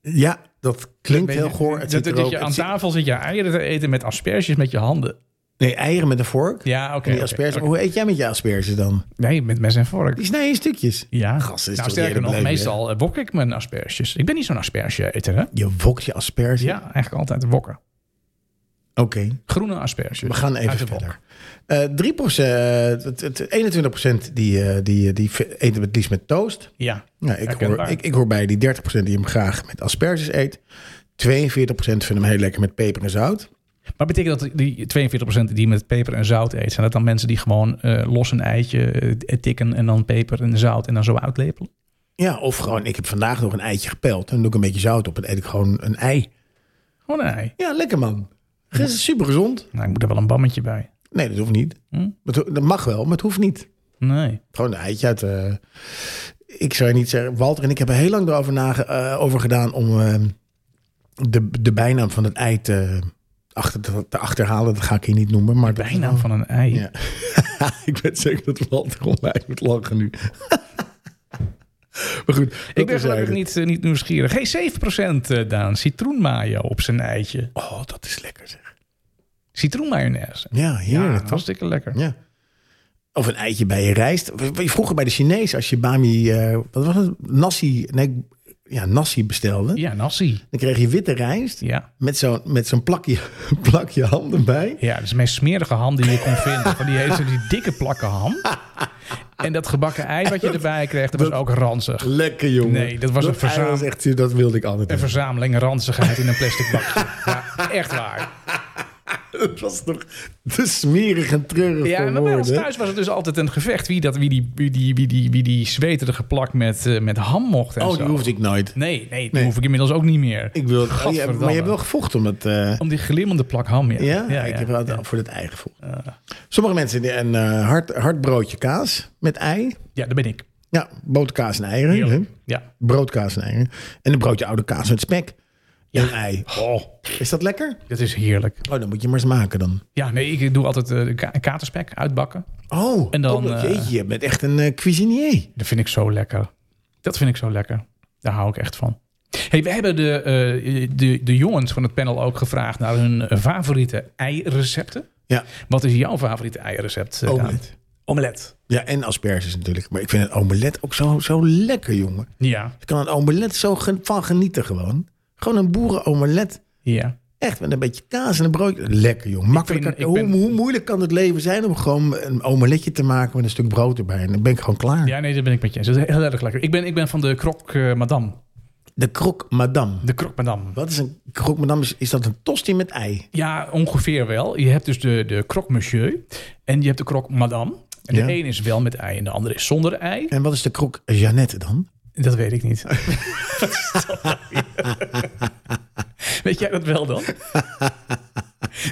Speaker 2: Ja, dat klinkt heel goor. Het
Speaker 1: Dat,
Speaker 2: zit
Speaker 1: dat
Speaker 2: er ook-
Speaker 1: je aan
Speaker 2: het zit-
Speaker 1: tafel zit je eieren te eten met asperges met je handen.
Speaker 2: Nee, eieren met een vork.
Speaker 1: Ja, oké.
Speaker 2: en die
Speaker 1: oké,
Speaker 2: asperges.
Speaker 1: oké.
Speaker 2: Hoe eet jij met je asperges dan?
Speaker 1: Nee, met mes en vork.
Speaker 2: Die snij je in stukjes.
Speaker 1: Ja,
Speaker 2: Gast,
Speaker 1: nou,
Speaker 2: is toch
Speaker 1: sterker
Speaker 2: eerder
Speaker 1: nog,
Speaker 2: beleefd, hè?
Speaker 1: meestal eh, wok ik mijn asperges. Ik ben niet zo'n asperge-eter, hè?
Speaker 2: Je wokt je asperges.
Speaker 1: Ja, eigenlijk altijd wokken.
Speaker 2: Oké,
Speaker 1: Groene asperges.
Speaker 2: we gaan even
Speaker 1: Uit de wok.
Speaker 2: verder. Eh 3 het, het 21 die, eh, die, eh, die v- eten het liefst met toast.
Speaker 1: Ja,
Speaker 2: Nou, ik, hoor,
Speaker 1: Herkenbaar.
Speaker 2: ik, ik hoor bij die 30 die hem graag met asperges eet. 42 vinden hem heel lekker met peper en zout.
Speaker 1: Maar betekent dat die 42% die met peper en zout eet, zijn dat dan mensen die gewoon eh, los een eitje eh, tikken en dan peper en zout en dan zo uitlepelen?
Speaker 2: Ja, of gewoon, ik heb vandaag nog een eitje gepeld. En dan doe ik een beetje zout op en eet ik gewoon een ei.
Speaker 1: Gewoon een ei.
Speaker 2: Ja, lekker man. Het is super gezond.
Speaker 1: Nou, ik moet er wel een bammetje bij.
Speaker 2: Nee, dat hoeft niet.
Speaker 1: Hm?
Speaker 2: Dat, ho- dat mag wel, maar het hoeft niet.
Speaker 1: Nee.
Speaker 2: Gewoon een eitje uit. eh, ik zou je niet zeggen. Walter en ik hebben heel lang erover nage, eh, over gedaan om eh, de, de bijnaam van het ei te, achter, te, te achterhalen. Dat ga ik hier niet noemen. Maar dat-
Speaker 1: Bijnaam van een ei.
Speaker 2: Ja. ik weet zeker dat Walter online moet lachen nu. maar goed, dat
Speaker 1: Ik ben
Speaker 2: terzijde.
Speaker 1: gelukkig niet, eh, niet nieuwsgierig. Hey, 7% eh, Daan, citroenmayo op zijn eitje.
Speaker 2: Oh, dat is lekker zeg.
Speaker 1: Citroenmayonaise.
Speaker 2: Ja, heerlijk.
Speaker 1: ja,
Speaker 2: toch?
Speaker 1: hartstikke lekker.
Speaker 2: Ja. Of een eitje bij je rijst. W- w- Vroeger bij de Chinees, als je bami, eh, wat was het? Nasi, nee, ja, nasi bestelde.
Speaker 1: Ja, nasi.
Speaker 2: Dan kreeg je witte rijst
Speaker 1: Ja.
Speaker 2: met zo'n met zo'n plakje, plakje ham erbij.
Speaker 1: Ja, dat is de meest smerige ham die je kon vinden. Van die hele die dikke plakken ham. En dat gebakken ei wat je erbij kreeg, dat was ook ranzig.
Speaker 2: Lekker jongen.
Speaker 1: Nee, dat was een
Speaker 2: ei
Speaker 1: verzaam-
Speaker 2: was echt, dat wilde ik altijd.
Speaker 1: Een verzameling ranzigheid in een plastic bakje. Ja, echt waar.
Speaker 2: Het was toch te smerig en treurig
Speaker 1: Ja,
Speaker 2: voor
Speaker 1: maar bij ons
Speaker 2: woorden.
Speaker 1: thuis was het dus altijd een gevecht. Wie, dat, wie, die, wie, die, wie, die, wie die zweterige plak met, eh, met ham mocht en
Speaker 2: Oh,
Speaker 1: zo.
Speaker 2: die hoefde ik nooit.
Speaker 1: Nee, nee, die
Speaker 2: Nee.
Speaker 1: hoef ik inmiddels ook niet meer.
Speaker 2: Ik wil, oh, je hebt- maar
Speaker 1: Gadverdamme.
Speaker 2: je hebt wel gevochten om het... eh,
Speaker 1: Om die glimmende plak ham, ja.
Speaker 2: Ja,
Speaker 1: ja,
Speaker 2: ik
Speaker 1: ja.
Speaker 2: heb wel voor het ei gevoel. Sommige mensen die een eh, hard, hard broodje kaas met ei.
Speaker 1: Ja, daar ben ik.
Speaker 2: Ja, boterkaas en eieren. hè?
Speaker 1: Ja.
Speaker 2: Broodkaas en eieren. En een broodje oude kaas met spek. En ei.
Speaker 1: Oh,
Speaker 2: Is dat lekker?
Speaker 1: dat is heerlijk.
Speaker 2: Oh, dan moet je maar eens maken dan.
Speaker 1: Ja, nee, ik doe altijd eh, ka- katerspek uitbakken.
Speaker 2: Oh,
Speaker 1: En dan, eh,
Speaker 2: oh, jeetje, je bent echt een eh, cuisinier.
Speaker 1: Dat vind ik zo lekker. Dat vind ik zo lekker. Daar hou ik echt van. Hey, we hebben de, eh, de, de jongens van het panel ook gevraagd naar hun eh, favoriete eirecepten.
Speaker 2: Ja,
Speaker 1: Wat is jouw favoriete eirecept? eh,
Speaker 2: Omelet.
Speaker 1: Daan? Omelet.
Speaker 2: ja, en asperges natuurlijk. Maar ik vind een omelet ook zo, zo lekker, jongen.
Speaker 1: Ja,
Speaker 2: Ik kan een omelet zo gen- van genieten gewoon. Gewoon een boerenomelet.
Speaker 1: ja.
Speaker 2: Echt, met een beetje kaas en een broodje. Lekker, joh. Makkelijker.
Speaker 1: vind- ik
Speaker 2: hoe,
Speaker 1: ben-
Speaker 2: hoe moeilijk kan het leven zijn om gewoon een omeletje te maken met een stuk brood erbij? En dan ben ik gewoon klaar.
Speaker 1: Ja, nee, dat ben ik met je eens. Dat is heel erg lekker. Ik ben, ik ben van de krok eh, madame.
Speaker 2: De krok madame.
Speaker 1: De krok madame.
Speaker 2: Wat is een krok madame? Is, is dat een tosti met ei?
Speaker 1: Ja, ongeveer wel. Je hebt dus de, de krok monsieur en je hebt de krok madame. En de
Speaker 2: Ja.
Speaker 1: een is wel met ei en de andere is zonder ei.
Speaker 2: En wat is de krok Jeannette dan?
Speaker 1: Dat weet ik niet. Wat is dat nou weer? weet jij dat wel dan?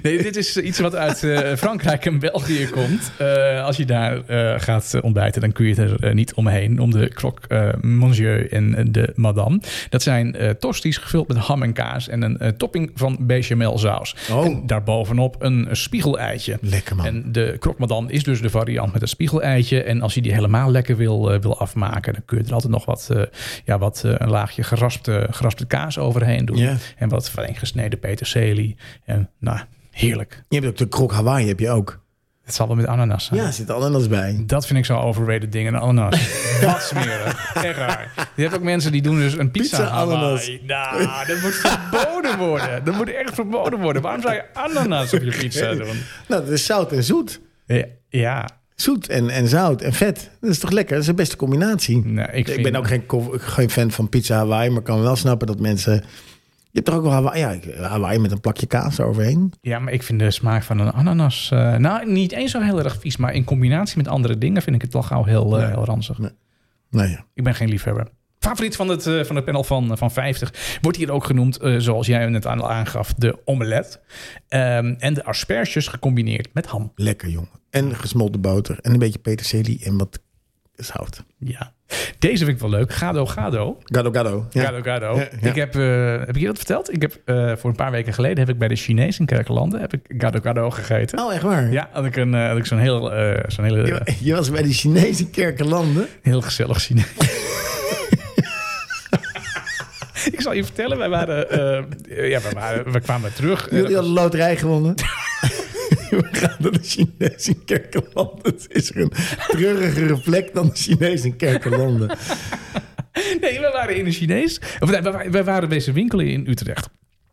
Speaker 1: Nee, dit is iets wat uit eh, Frankrijk en België komt. Eh, als je daar eh, gaat eh, ontbijten, dan kun je er eh, niet omheen. Om de klok eh, monsieur en eh, de madame. Dat zijn eh tosties gevuld met ham en kaas en een eh, topping van bechamel saus.
Speaker 2: Oh.
Speaker 1: En daarbovenop een, een spiegeleitje.
Speaker 2: Lekker, man.
Speaker 1: En de croque madame is dus de variant met een spiegeleitje. En als je die helemaal lekker wil, eh, wil afmaken, dan kun je er altijd nog wat, eh, ja, wat eh, een laagje geraspte, geraspte kaas overheen doen.
Speaker 2: Ja.
Speaker 1: En wat fijn gesneden peterselie. En nou, heerlijk.
Speaker 2: Je hebt ook de krok Hawaii, heb je ook.
Speaker 1: Het zal wel met ananas zijn.
Speaker 2: Ja, zit ananas bij.
Speaker 1: Dat vind ik zo overrated ding, een ananas. Wat smerig. Echt raar. Je hebt ook mensen die doen dus een pizza,
Speaker 2: Pizza
Speaker 1: Hawaii.
Speaker 2: ananas.
Speaker 1: Nou, dat moet verboden worden. Dat moet echt verboden worden. Waarom zou je ananas op je pizza doen?
Speaker 2: Nou, dat is zout en zoet.
Speaker 1: Ja, ja.
Speaker 2: Zoet en, en zout en vet. Dat is toch lekker? Dat is de beste combinatie.
Speaker 1: Nou, ik,
Speaker 2: ik,
Speaker 1: vind-
Speaker 2: ben ook geen, ko- geen fan van pizza Hawaii, maar kan wel snappen dat mensen... Je hebt er ook wel Hawaii, ja, Hawaii met een plakje kaas eroverheen.
Speaker 1: Ja, maar ik vind de smaak van een ananas... eh, nou, niet eens zo heel erg vies. Maar in combinatie met andere dingen vind ik het toch gauw heel, eh, heel ranzig.
Speaker 2: Nou ja.
Speaker 1: Ik ben geen liefhebber. Favoriet van het, eh, van het panel van, van 50 wordt hier ook genoemd, eh, zoals jij het aan- aangaf, de omelet. Ehm, en de asperges gecombineerd met ham.
Speaker 2: Lekker, jongen. En gesmolten boter. En een beetje peterselie en wat zout.
Speaker 1: Ja. Deze vind ik wel leuk. Gado Gado.
Speaker 2: Gado gado. Ja.
Speaker 1: Gado Gado.
Speaker 2: Ja, ja.
Speaker 1: Ik heb, eh, heb ik je dat verteld? Ik heb eh, voor een paar weken geleden heb ik bij de Chinees in Kerkelanden heb ik Gado Gado gegeten.
Speaker 2: Oh, echt waar?
Speaker 1: Ja, had ik, een, eh, had ik zo'n heel, eh, zo'n hele,
Speaker 2: Je, je was bij die Chinese kerkenlanden.
Speaker 1: heel gezellig Chinees. ik zal je vertellen, wij waren, eh, ja, we, waren, we kwamen terug.
Speaker 2: Jullie hadden loterij gewonnen. We gaan naar de Chinese kerkenlanden. Het is er een treurigere plek dan de Chinese kerkenlanden.
Speaker 1: Nee, we waren in een Chinees. Of nee, we wa- we waren deze winkel in Utrecht.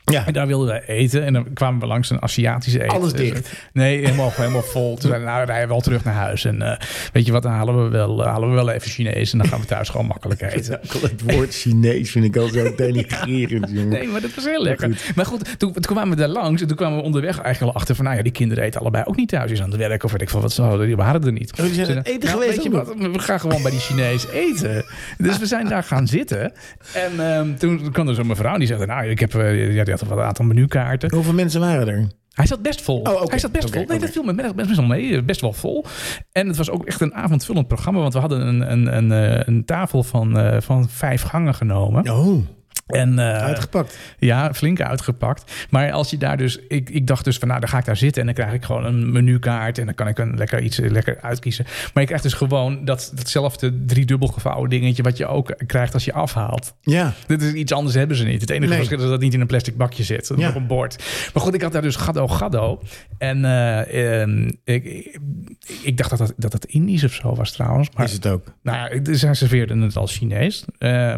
Speaker 2: Ja,
Speaker 1: En daar wilden wij eten. En dan kwamen we langs een Aziatische eten.
Speaker 2: Alles
Speaker 1: Dus,
Speaker 2: dicht.
Speaker 1: nee, helemaal, helemaal vol. Toen zeiden we, nou, we rijden wel terug naar huis. En eh, weet je wat, dan halen we, wel, eh, halen we wel even Chinees. En dan gaan we thuis gewoon makkelijk eten.
Speaker 2: het woord Chinees vind ik al zo denigrerend, jongen.
Speaker 1: Nee, maar dat was heel lekker. Maar goed, toen, toen kwamen we daar langs. En toen kwamen we onderweg eigenlijk al achter van... nou ja, die kinderen eten allebei ook niet thuis. Die Is aan het werk of weet ik veel wat. Zo, die waren er niet.
Speaker 2: Oh, die zijn
Speaker 1: Ze
Speaker 2: aan het
Speaker 1: zeiden,
Speaker 2: eten geweest
Speaker 1: Weet je
Speaker 2: ook
Speaker 1: wat, we gaan gewoon bij die Chinees eten. Dus we zijn daar gaan zitten. En ehm, toen kwam er zo'n mevrouw en die zei... nou, ik heb, eh, ja, die had wel een aantal menukaarten.
Speaker 2: Hoeveel mensen waren er?
Speaker 1: Hij zat best vol.
Speaker 2: Oh, oké.
Speaker 1: Hij zat best
Speaker 2: Oké,
Speaker 1: vol. Nee,
Speaker 2: oké.
Speaker 1: dat viel me best, best wel mee. Best wel vol. En het was ook echt een avondvullend programma. Want we hadden een, een, een, eh, een tafel van, eh, van vijf gangen genomen.
Speaker 2: Oh,
Speaker 1: En, eh,
Speaker 2: uitgepakt.
Speaker 1: ja, flink uitgepakt. Maar als je daar dus... Ik, ik dacht dus van, nou, dan ga ik daar zitten... en dan krijg ik gewoon een menukaart... en dan kan ik een lekker iets eh, lekker uitkiezen. Maar je krijgt dus gewoon dat, datzelfde driedubbel gevouwen dingetje... wat je ook krijgt als je afhaalt.
Speaker 2: Ja.
Speaker 1: Dit is iets anders hebben ze niet. Het enige
Speaker 2: Nee.
Speaker 1: verschil is dat het niet in een plastic bakje zit. Dat is
Speaker 2: Ja.
Speaker 1: op een bord. Maar goed, ik had daar dus gado gado. En eh, ehm, ik, ik, ik dacht dat dat, dat dat Indisch of zo was trouwens. Maar
Speaker 2: Is het ook.
Speaker 1: nou ja, ik- zij serveerden het als Chinees. Eh,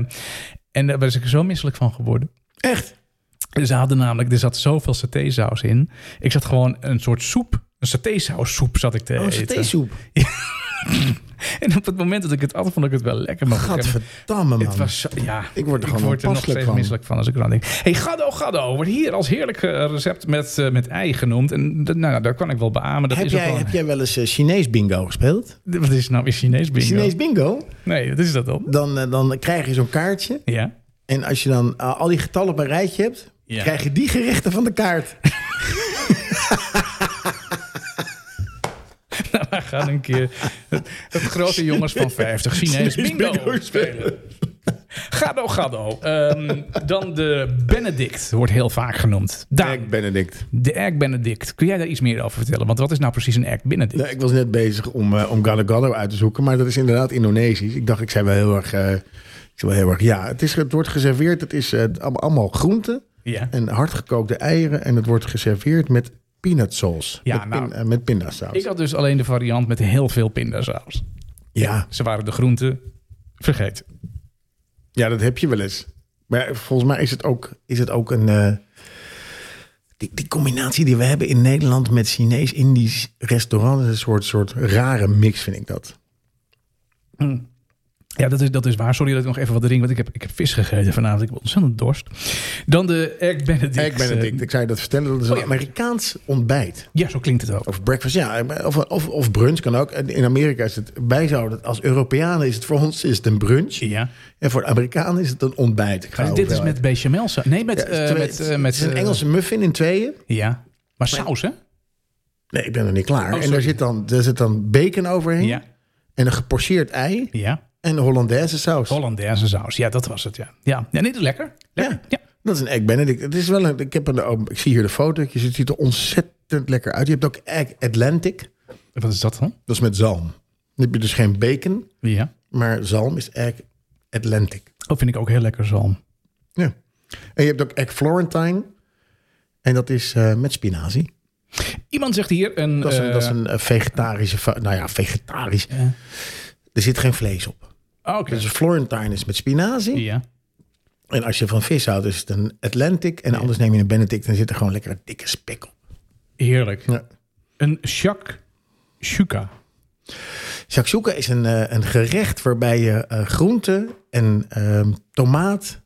Speaker 1: En daar was ik zo misselijk van geworden.
Speaker 2: Echt?
Speaker 1: Ze hadden namelijk, er zat zoveel satésaus in. Ik zat gewoon een soort soep, een satésaussoep zat eh, ik te
Speaker 2: Oh,
Speaker 1: eten.
Speaker 2: theesoep.
Speaker 1: En op het moment dat ik het at, vond ik het wel lekker. Maar op een gegeven moment-
Speaker 2: Gadverdamme, man.
Speaker 1: Het was, zo- ja,
Speaker 2: Ik word er gewoon
Speaker 1: nog
Speaker 2: onpasselijk
Speaker 1: steeds
Speaker 2: van.
Speaker 1: misselijk van als ik eraan denk. hey, gado gado wordt hier als heerlijk eh, recept met, eh, met ei genoemd. En dat- nou, daar kan ik wel beamen. Dat
Speaker 2: heb,
Speaker 1: is
Speaker 2: jij,
Speaker 1: ook wel,
Speaker 2: heb jij wel eens eh, Chinees bingo gespeeld?
Speaker 1: Wat is nou weer Chinees bingo?
Speaker 2: Chinees bingo?
Speaker 1: Nee, dat is dat dan.
Speaker 2: Dan, eh, dan krijg je zo'n kaartje.
Speaker 1: Ja.
Speaker 2: En als je dan eh, al die getallen op een rijtje hebt,
Speaker 1: Ja.
Speaker 2: krijg je die gerechten van de kaart.
Speaker 1: Nou, we gaan een keer het, het grote jongens van 50 Chinees bingo,
Speaker 2: bingo
Speaker 1: spelen. Gado gado. Ehm, dan de Benedict wordt heel vaak genoemd. Daan,
Speaker 2: Benedict.
Speaker 1: de Egg Benedict. Kun jij daar iets meer over vertellen? Want wat is nou precies een Egg Benedict?
Speaker 2: Nou, ik was net bezig om, eh om Gado Gado uit te zoeken, maar dat is inderdaad Indonesisch. Ik dacht, ik zei wel heel erg, eh, ik zei wel heel erg ja. Het, is, het wordt geserveerd, het is eh, allemaal- allemaal groenten
Speaker 1: Ja.
Speaker 2: en hardgekookte eieren. En het wordt geserveerd met peanut sauce.
Speaker 1: Ja,
Speaker 2: met,
Speaker 1: nou.
Speaker 2: pin- eh, met pindasaus.
Speaker 1: Ik had dus alleen de variant met heel veel pindasaus.
Speaker 2: ja.
Speaker 1: Ze waren de groenten vergeten.
Speaker 2: ja, dat heb je wel eens. Maar ja, volgens mij is het ook, is het ook een... eh, die, die combinatie die we hebben in Nederland met Chinees-Indisch restaurant... is een soort, soort rare mix, vind ik dat.
Speaker 1: Ja, dat is, dat is waar. Sorry dat ik nog even wat drink, want ik heb, ik heb vis gegeten vanavond. Ik heb ontzettend dorst. Dan de Egg Benedict.
Speaker 2: Ik ben het, ik, ik zou je dat vertellen. Dat is een
Speaker 1: eh, Oh ja.
Speaker 2: Amerikaans ontbijt.
Speaker 1: Ja, zo klinkt het ook.
Speaker 2: Of breakfast, ja. Of, of, of brunch kan ook. En In Amerika is het, wij zouden het als Europeanen, is het voor ons is het een brunch.
Speaker 1: Ja.
Speaker 2: En voor de Amerikanen is het een ontbijt. Ik ga
Speaker 1: dit is
Speaker 2: overal
Speaker 1: met
Speaker 2: uit.
Speaker 1: bechamel saus. Nee, met...
Speaker 2: Oh, Ja, het is
Speaker 1: eh,
Speaker 2: twee-
Speaker 1: met, eh,
Speaker 2: het
Speaker 1: met
Speaker 2: is een
Speaker 1: eh,
Speaker 2: Engelse muffin in tweeën.
Speaker 1: Ja. Maar saus, hè?
Speaker 2: Nee, ik ben nog niet klaar. en
Speaker 1: Oh, sorry.
Speaker 2: daar zit, dan, daar zit dan bacon overheen.
Speaker 1: Ja.
Speaker 2: En een gepocheerd ei.
Speaker 1: Ja.
Speaker 2: En een Hollandaise saus.
Speaker 1: Hollandaise saus. Ja, dat was het, ja. Ja, ja nee, dat is lekker. Lekker.
Speaker 2: Ja. Dat is een egg benedict. Het is wel een, ik, heb een, ik zie hier de fotootjes. Het ziet er ontzettend lekker uit. Je hebt ook egg Atlantic.
Speaker 1: ja. Wat is dat dan?
Speaker 2: Dat is met zalm. Dan heb je dus geen bacon.
Speaker 1: Ja.
Speaker 2: Maar zalm is egg Atlantic.
Speaker 1: Dat vind ik ook heel lekker zalm.
Speaker 2: Ja. En je hebt ook egg Florentine. En dat is eh, met spinazie.
Speaker 1: Iemand zegt hier een...
Speaker 2: Dat is een,
Speaker 1: eh,
Speaker 2: dat is een eh, vegetarische... va- Nou ja, vegetarisch. Er zit geen vlees op.
Speaker 1: oh, Oké.
Speaker 2: Dus Florentine is met spinazie.
Speaker 1: Ja.
Speaker 2: En als je van vis houdt, is het een Atlantic. En anders neem je een Benedict en zit er gewoon lekker dikke spek op.
Speaker 1: Heerlijk.
Speaker 2: Ja.
Speaker 1: Een shakshuka.
Speaker 2: Shakshuka is een, eh, een gerecht waarbij je eh groente en ehm, tomaat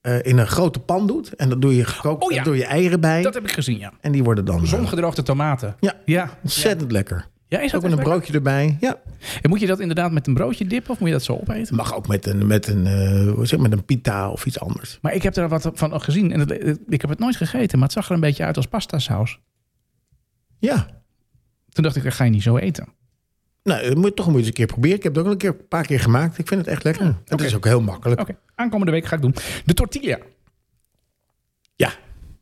Speaker 2: eh, in een grote pan doet. En dat doe je gekookt,
Speaker 1: Oh ja.
Speaker 2: daar doe je eieren bij.
Speaker 1: Dat heb ik gezien, ja.
Speaker 2: En die worden dan eh,
Speaker 1: Zongedroogde tomaten.
Speaker 2: Ja.
Speaker 1: Ja.
Speaker 2: ontzettend lekker.
Speaker 1: Ja, is dat
Speaker 2: Ook met
Speaker 1: echt
Speaker 2: een broodje erbij. Ja.
Speaker 1: lekker? En moet je dat inderdaad met een broodje dippen of moet je dat zo opeten?
Speaker 2: Mag ook met een, met een, eh, hoe zeg, met een pita of iets anders.
Speaker 1: Maar ik heb daar wat van gezien en het- het- ik heb het nooit gegeten, maar het zag er een beetje uit als pasta saus.
Speaker 2: Ja.
Speaker 1: Toen dacht ik, dat ga je niet zo eten.
Speaker 2: Nou, dat moet je toch moet je eens een keer proberen. Ik heb het ook al een, keer, een paar keer gemaakt. Ik vind het echt lekker. En Het
Speaker 1: oké.
Speaker 2: is ook heel makkelijk.
Speaker 1: Oké, aankomende week ga ik doen. De tortilla.
Speaker 2: Ja.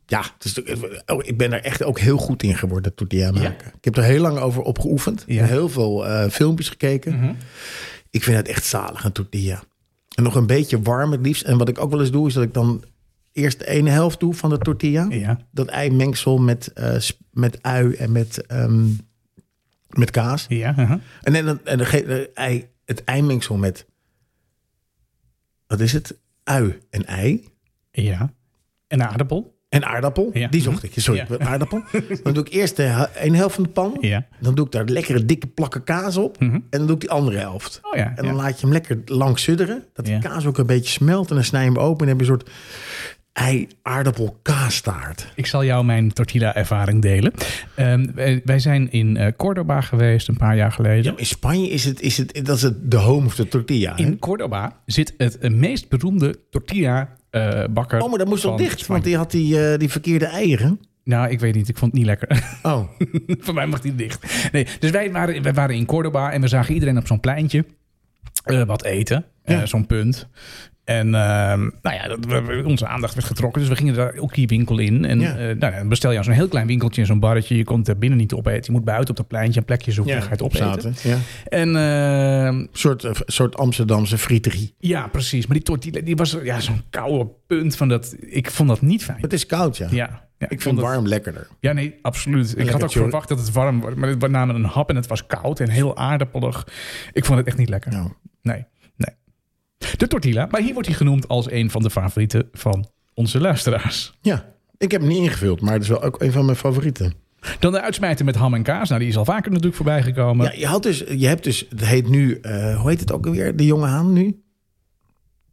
Speaker 2: Ja, het is natuurlijk- oh, ik ben er echt ook heel goed in geworden, tortilla maken. Ik heb er heel lang over opgeoefend.
Speaker 1: Ja. Mhm.
Speaker 2: Heel veel eh, filmpjes gekeken. Ik vind het echt zalig, een tortilla. En nog een beetje warm het liefst. En wat ik ook wel eens doe, is dat ik dan eerst de ene helft doe van de tortilla.
Speaker 1: Ja.
Speaker 2: Dat eimengsel met, eh, sp- met ui en met, ehm, met kaas.
Speaker 1: Ja. aha.
Speaker 2: En, dan- en, dan ge- eh, ei, het eimengsel met... Wat is het? Ui en ei.
Speaker 1: ja. En een aardappel.
Speaker 2: En aardappel,
Speaker 1: Ja.
Speaker 2: die zocht ik. Sorry,
Speaker 1: Ja.
Speaker 2: aardappel. Dan doe ik eerst de he- een helft van de pan.
Speaker 1: Ja. Mhm.
Speaker 2: Dan doe ik daar lekkere dikke plakken kaas op. En dan doe ik die andere helft.
Speaker 1: Oh ja,
Speaker 2: en dan
Speaker 1: ja.
Speaker 2: laat je hem lekker lang sudderen. Dat die
Speaker 1: Ja.
Speaker 2: kaas ook een beetje smelt. En dan snij je hem open en dan heb je een soort ei-aardappel-kaastaart.
Speaker 1: Ik zal jou mijn tortilla-ervaring delen. Ehm, wij, wij zijn in eh, Cordoba geweest een paar jaar geleden.
Speaker 2: In Spanje is het, is het, dat is het de home of de tortilla. hè?
Speaker 1: In Cordoba zit het eh, meest beroemde tortilla-bakker.
Speaker 2: Oh, maar dat moest
Speaker 1: van
Speaker 2: wel dicht,
Speaker 1: Spanje.
Speaker 2: want die had die, eh, die verkeerde eieren.
Speaker 1: Nou, ik weet niet. Ik vond het niet lekker.
Speaker 2: Oh,
Speaker 1: Voor mij mag die dicht. Nee, dus wij waren, wij waren in Cordoba en we zagen iedereen op zo'n pleintje eh, wat eten. Eh, zo'n punt. En ehm, nou ja, dat, we- we- onze aandacht werd getrokken. Dus we gingen daar ook die winkel in. En eh,
Speaker 2: Ja.
Speaker 1: nou, ja, dan bestel je aan zo'n heel klein winkeltje in zo'n barretje. Je komt er binnen niet opeten. Je moet buiten op dat pleintje een plekje zoeken. en ga je het opeten.
Speaker 2: Ja.
Speaker 1: En ehm,
Speaker 2: Een soort, een soort Amsterdamse frieterie.
Speaker 1: ja, precies. Maar die tortilla, die was ja, zo'n koude punt van dat. Ik vond dat niet fijn.
Speaker 2: Het is koud, ja.
Speaker 1: Ja, ja
Speaker 2: Ik vind
Speaker 1: dat-
Speaker 2: warm lekkerder.
Speaker 1: Ja, nee, absoluut. Ik had ook
Speaker 2: chill.
Speaker 1: verwacht dat het warm wordt. Maar we namen een hap en het was koud en heel aardappelig. Ik vond het echt niet lekker.
Speaker 2: Nou,
Speaker 1: Nee, nee. De tortilla. Maar hier wordt hij genoemd als een van de favorieten van onze luisteraars.
Speaker 2: Ja, ik heb hem niet ingevuld, maar het is wel ook een van mijn favorieten.
Speaker 1: Dan de uitsmijter met ham en kaas. Nou, die is al vaker natuurlijk voorbij gekomen.
Speaker 2: Ja, je, had dus, je hebt dus, het heet nu, eh, hoe heet het ook alweer? De jonge haan nu?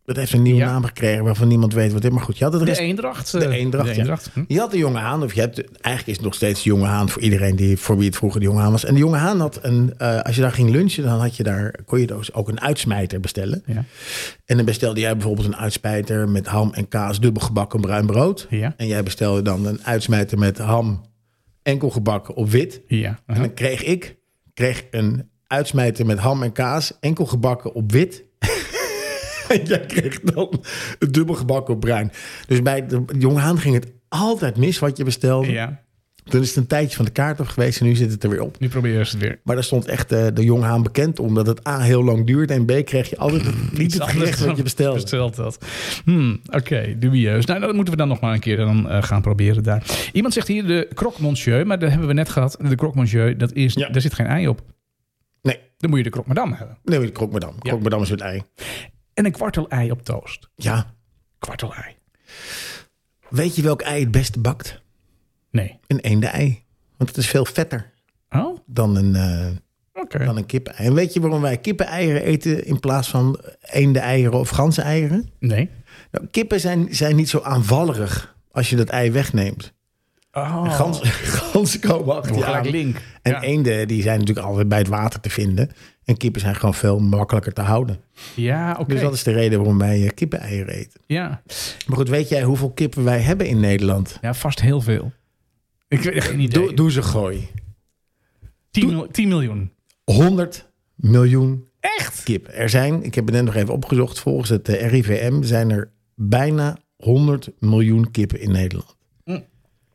Speaker 2: Dat heeft een nieuwe
Speaker 1: Ja.
Speaker 2: naam gekregen waarvan niemand weet wat het is. Maar goed, je had het
Speaker 1: de
Speaker 2: rest.
Speaker 1: eendracht.
Speaker 2: dus De
Speaker 1: eh,
Speaker 2: eendracht, ja.
Speaker 1: Hm.
Speaker 2: Je had de jonge haan, of je hebt, eigenlijk is het nog steeds de jonge haan voor iedereen die, voor wie het vroeger de jonge haan was. En de jonge haan had een, eh, als je daar ging lunchen, dan had je daar, kon je dus ook een uitsmijter bestellen.
Speaker 1: Ja.
Speaker 2: En dan bestelde jij bijvoorbeeld een uitspijter met ham en kaas, dubbel gebakken bruin brood.
Speaker 1: Ja.
Speaker 2: En jij bestelde dan een uitsmijter met ham, enkel gebakken op wit.
Speaker 1: Ja.
Speaker 2: En dan kreeg ik kreeg een uitsmijter met ham en kaas, enkel gebakken op wit. en jij kreeg dan een dubbel gebakken op bruin. Dus bij de jongehaan ging het altijd mis wat je bestelde.
Speaker 1: ja.
Speaker 2: Toen is het een tijdje van de kaart af geweest en nu zit het er weer op.
Speaker 1: Nu proberen ze het weer.
Speaker 2: Maar daar stond echt eh, de jonghaan bekend omdat het A heel lang duurde en B kreeg je altijd het- niet het
Speaker 1: Anders
Speaker 2: gerecht wat je
Speaker 1: dan
Speaker 2: bestelde.
Speaker 1: besteld had. Hmm, Oké, dubieus. Nou, dat moeten we dan nog maar een keer dan, eh, gaan proberen daar. Iemand zegt hier de croque monsieur, maar dat hebben we net gehad. De croque monsieur, dat is,
Speaker 2: Ja.
Speaker 1: daar zit geen ei op.
Speaker 2: Nee,
Speaker 1: Dan moet je de croque madame hebben.
Speaker 2: nee, de krokmadam.
Speaker 1: Ja.
Speaker 2: Krokmadam is het ei.
Speaker 1: En een kwartel ei op toast.
Speaker 2: Ja,
Speaker 1: Kwartel ei.
Speaker 2: weet je welk ei het beste bakt?
Speaker 1: Nee.
Speaker 2: Een eende-ei. Want het is veel vetter
Speaker 1: Oh, oké.
Speaker 2: dan een... eh, dan een kippen. En weet je waarom wij kippeneieren eten in plaats van eenden-eieren of ganzen-eieren?
Speaker 1: Nee.
Speaker 2: Nou, kippen zijn, zijn niet zo aanvallerig als je dat ei wegneemt.
Speaker 1: Oh.
Speaker 2: Gans, ganzen komen achter je
Speaker 1: Gelijk
Speaker 2: aan.
Speaker 1: link.
Speaker 2: En
Speaker 1: ja.
Speaker 2: eenden die zijn natuurlijk altijd bij het water te vinden. En kippen zijn gewoon veel makkelijker te houden.
Speaker 1: Ja, oké.
Speaker 2: Dus dat is de reden waarom wij eh, kippeneieren eten.
Speaker 1: Ja.
Speaker 2: Maar goed, weet jij hoeveel kippen wij hebben in Nederland?
Speaker 1: ja, vast heel veel. Ik weet echt geen idee.
Speaker 2: Doe, doe ze gooi.
Speaker 1: 10, mil- 10 miljoen.
Speaker 2: 100 miljoen
Speaker 1: Echt?
Speaker 2: kip. Er zijn, ik heb het net nog even opgezocht, volgens het eh, RIVM zijn er bijna 100 miljoen kippen in Nederland.
Speaker 1: Mm.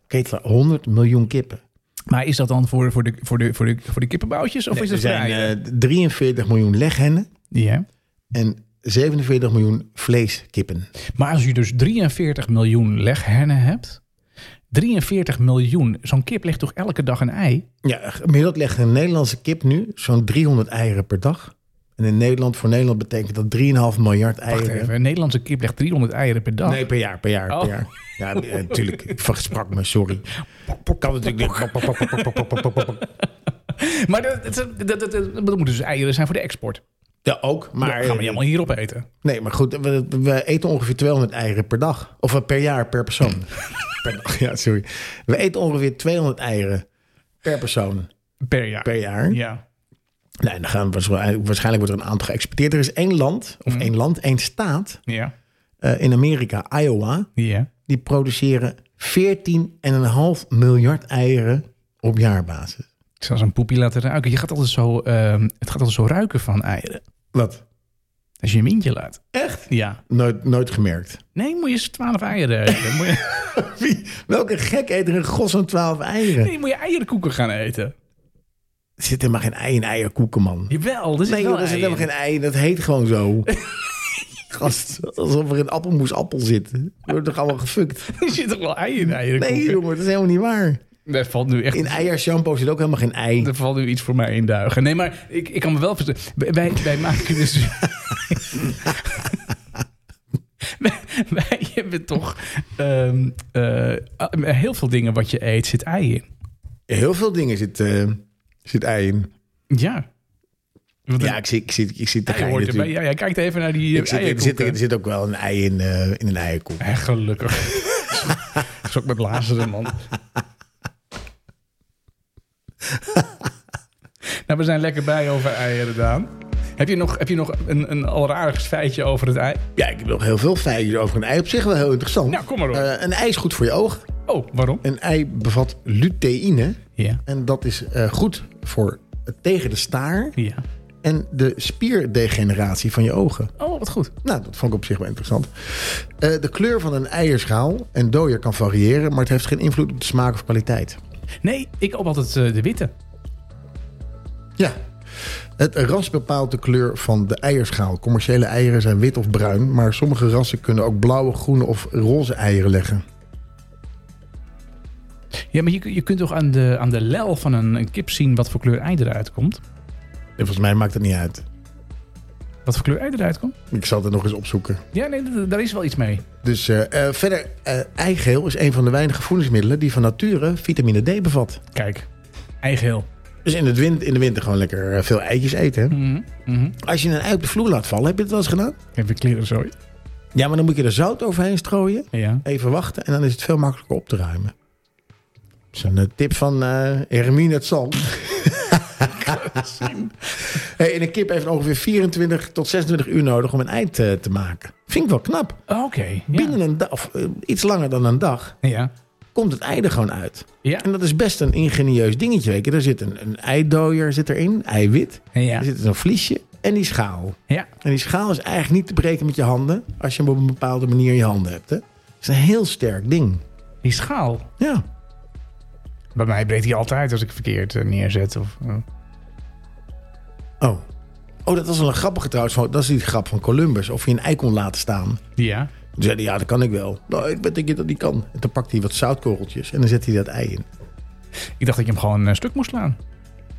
Speaker 2: Ketelaar, 100 miljoen kippen.
Speaker 1: Maar is dat dan voor, voor, de, voor, de, voor, de, voor de kippenboutjes? Of is
Speaker 2: er
Speaker 1: dat voor de
Speaker 2: zijn
Speaker 1: eieren?
Speaker 2: eh, 43 miljoen leghennen
Speaker 1: Ja.
Speaker 2: en 47 miljoen vleeskippen.
Speaker 1: Maar als je dus 43 miljoen leghennen hebt. 43 miljoen. Zo'n kip legt toch elke dag een ei?
Speaker 2: Ja, gemiddeld legt een Nederlandse kip nu zo'n 300 eieren per dag. En in Nederland, voor Nederland betekent dat 3,5 miljard
Speaker 1: Wacht
Speaker 2: eieren.
Speaker 1: even, een Nederlandse kip legt 300 eieren per dag.
Speaker 2: Nee, per jaar, per jaar,
Speaker 1: Oh.
Speaker 2: per jaar. Ja, natuurlijk. ik versprak me, sorry. Kan natuurlijk niet.
Speaker 1: Maar dat, dat, dat, dat, dat, dat moeten dus eieren zijn voor de export.
Speaker 2: Ja, ook.
Speaker 1: Maar
Speaker 2: Maar,
Speaker 1: gaan we niet allemaal hierop eten.
Speaker 2: Nee, maar goed, we, we eten ongeveer 200 eieren per dag. Of eh, per jaar, per persoon. per dag, ja, sorry. We eten ongeveer 200 eieren per persoon
Speaker 1: Per jaar.
Speaker 2: per jaar.
Speaker 1: Ja.
Speaker 2: Nee, dan gaan we, waarschijnlijk waarschijnlijk wordt er een aantal geëxporteerd. Er is één land,
Speaker 1: Mhm.
Speaker 2: of één land, één staat
Speaker 1: Ja.
Speaker 2: eh, in Amerika, Iowa.
Speaker 1: Ja.
Speaker 2: Die produceren 14,5 miljard eieren op jaarbasis.
Speaker 1: Zelfs een poepie laten ruiken. Je gaat altijd zo, ehm, het gaat altijd zo ruiken van eieren.
Speaker 2: Wat?
Speaker 1: Als je een windje laat.
Speaker 2: Echt?
Speaker 1: Ja.
Speaker 2: Nooit, nooit gemerkt.
Speaker 1: Nee, moet je eens 12 eieren eten. Moet je,
Speaker 2: Wie, welke gek eet er een gos van 12 eieren?
Speaker 1: nee, moet je eierenkoeken gaan eten.
Speaker 2: Er zit helemaal geen ei in eierkoeken, man.
Speaker 1: Jawel, er zit
Speaker 2: Nee,
Speaker 1: wel
Speaker 2: joh, er zit
Speaker 1: ei
Speaker 2: helemaal
Speaker 1: in.
Speaker 2: geen ei. in. Dat heet gewoon zo. Gast, alsof er in appelmoes appel zit. Je wordt toch allemaal gefukt?
Speaker 1: Er zit toch wel ei in eierenkoeken?
Speaker 2: Nee, jongen, dat is helemaal niet waar.
Speaker 1: Daar valt nu echt
Speaker 2: In eiershampoo zit ook helemaal geen ei.
Speaker 1: Er valt nu iets voor mij in duigen. Nee, maar ik, ik kan me wel vertellen. Wij, wij maken dus. wij, wij hebben toch. ehm, eh, heel veel dingen wat je eet zit ei in.
Speaker 2: Heel veel dingen zit, eh, zit ei in.
Speaker 1: Ja. Want
Speaker 2: Ja,
Speaker 1: een
Speaker 2: ik zit, ik zit, ik zit de
Speaker 1: ei
Speaker 2: gein
Speaker 1: hoort erbij.
Speaker 2: natuurlijk.
Speaker 1: Ja, jij kijkt even naar die. eh,
Speaker 2: Ik zit, er, zit, er zit ook wel een ei in, eh, in een eierkoek.
Speaker 1: Echt gelukkig. Dat is ook met blazeren, man. nou, we zijn lekker bij over eieren, Daan. Heb je nog, heb je nog een, een alleraardig feitje over het ei?
Speaker 2: Ja, ik heb nog heel veel feiten over een ei. Op zich wel heel interessant.
Speaker 1: Nou, kom maar door.
Speaker 2: Eh, een ei is goed voor je ogen.
Speaker 1: Oh, waarom?
Speaker 2: Een ei bevat luteïne.
Speaker 1: Ja.
Speaker 2: En dat is eh, goed voor tegen de staar.
Speaker 1: Ja.
Speaker 2: en de spierdegeneratie van je ogen.
Speaker 1: Oh, wat goed.
Speaker 2: Nou, dat vond ik op zich wel interessant. Eh, de kleur van een eierschaal en dooier kan variëren, maar het heeft geen invloed op de smaak of kwaliteit.
Speaker 1: Nee, ik koop altijd eh, de witte.
Speaker 2: Ja. Het ras bepaalt de kleur van de eierschaal. Commerciële eieren zijn wit of bruin, maar sommige rassen kunnen ook blauwe, groene of roze eieren leggen.
Speaker 1: Ja, maar je, je kunt toch aan de, aan de lel van een, een kip zien wat voor kleur ei eruit komt?
Speaker 2: En volgens mij maakt het niet uit.
Speaker 1: Wat voor kleur eieren eruit komt?
Speaker 2: Ik zal het nog eens opzoeken.
Speaker 1: Ja, nee, d- daar is wel iets mee.
Speaker 2: Dus eh, eh, verder, eh eigeel is een van de weinige voedingsmiddelen die van nature vitamine D bevat.
Speaker 1: Kijk, eigeel.
Speaker 2: Dus in, het win- in de winter gewoon lekker eh, veel eitjes eten. hè?
Speaker 1: Mhm, mhm.
Speaker 2: Als je een ei op de vloer laat vallen, heb je dat wel eens gedaan?
Speaker 1: Even kleren zo.
Speaker 2: Ja, maar dan moet je er zout overheen strooien.
Speaker 1: Ja.
Speaker 2: Even wachten en dan is het veel makkelijker op te ruimen. Dat is een eh, tip van eh Hermine het Zand. hey, en een kip heeft ongeveer 24 tot 26 uur nodig om een ei te, te maken. Vind ik wel knap.
Speaker 1: Oké. ja.
Speaker 2: Binnen een dag, of eh, iets langer dan een dag,
Speaker 1: Ja.
Speaker 2: komt het ei er gewoon uit.
Speaker 1: Ja.
Speaker 2: En dat is best een ingenieus dingetje. Weet je. Er zit een, een eidooier zit erin, eiwit.
Speaker 1: Ja.
Speaker 2: Er zit dus een vliesje en die schaal.
Speaker 1: Ja.
Speaker 2: En die schaal is eigenlijk niet te breken met je handen. Als je hem op een bepaalde manier in je handen hebt. Hè? Het is een heel sterk ding.
Speaker 1: Die schaal.
Speaker 2: Ja.
Speaker 1: Bij mij breekt die altijd als ik verkeerd eh, neerzet. Of, eh.
Speaker 2: Oh. Oh, dat was wel een grappige trouwens. van- Dat is die grap van Columbus. Of je een ei kon laten staan.
Speaker 1: Ja.
Speaker 2: Toen zei hij, ja, dat kan ik wel. Nou, ik weet dat dat niet kan. En toen pakt hij wat zoutkorreltjes en dan zet hij dat ei in.
Speaker 1: Ik dacht dat je hem gewoon een stuk moest slaan.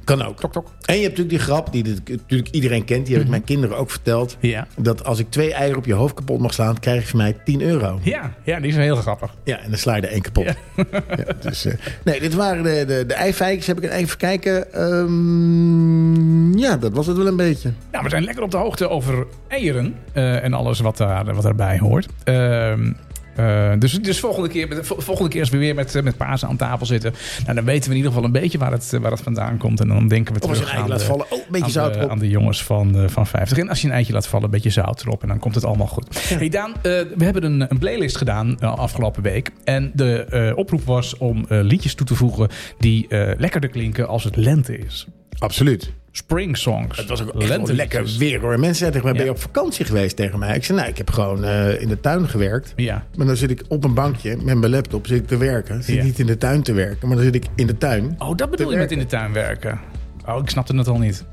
Speaker 2: Kan ook.
Speaker 1: Tok, Mhm. tok.
Speaker 2: En je hebt natuurlijk die grap, die dit- natuurlijk iedereen kent. Die heb ik mijn kinderen ook verteld.
Speaker 1: Ja.
Speaker 2: Dat als ik twee eieren op je hoofd kapot mag slaan, krijg je van mij 10 euro.
Speaker 1: Ja, ja die is heel grappig.
Speaker 2: Ja, en dan sla je er één kapot. Ja. dus, eh, nee, dit waren de, de, de eifijkjes. Heb ik even kijken. Ehm, ja, dat was het wel een beetje.
Speaker 1: Nou, we zijn lekker op de hoogte over eieren eh, en alles wat, daar, wat daarbij hoort. Ehm, eh, dus, dus volgende keer, de vol- volgende keer als we weer met, eh, met Pasen aan tafel zitten, nou, dan weten we in ieder geval een beetje waar het, eh, waar het vandaan komt. En dan denken we
Speaker 2: Of als je
Speaker 1: terug
Speaker 2: een ei
Speaker 1: aan
Speaker 2: laat
Speaker 1: de,
Speaker 2: vallen. Oh, een beetje
Speaker 1: aan
Speaker 2: zout
Speaker 1: de-
Speaker 2: erop.
Speaker 1: aan de jongens van, eh, van 50. En als je een eitje laat vallen, een beetje zout erop. En dan komt het allemaal goed. Hey Daan, eh, we hebben een, een playlist gedaan eh, afgelopen week. En de eh, oproep was om eh, liedjes toe te voegen die eh, lekkerder klinken als het lente is.
Speaker 2: Absoluut.
Speaker 1: Spring songs.
Speaker 2: Het was ook echt wel
Speaker 1: Lenteliedjes.
Speaker 2: lekker weer hoor. Mensen zeiden tegen mij, ben je
Speaker 1: Ja.
Speaker 2: op vakantie geweest tegen mij? Ik zei, nou, ik heb gewoon eh, in de tuin gewerkt.
Speaker 1: Ja.
Speaker 2: Maar dan zit ik op een bankje met mijn laptop zit ik te werken. Zit
Speaker 1: Ja.
Speaker 2: niet in de tuin te werken, maar dan zit ik in de tuin.
Speaker 1: Oh, dat bedoel
Speaker 2: te
Speaker 1: je met
Speaker 2: werken.
Speaker 1: in de tuin werken. Oh, ik snapte het al niet.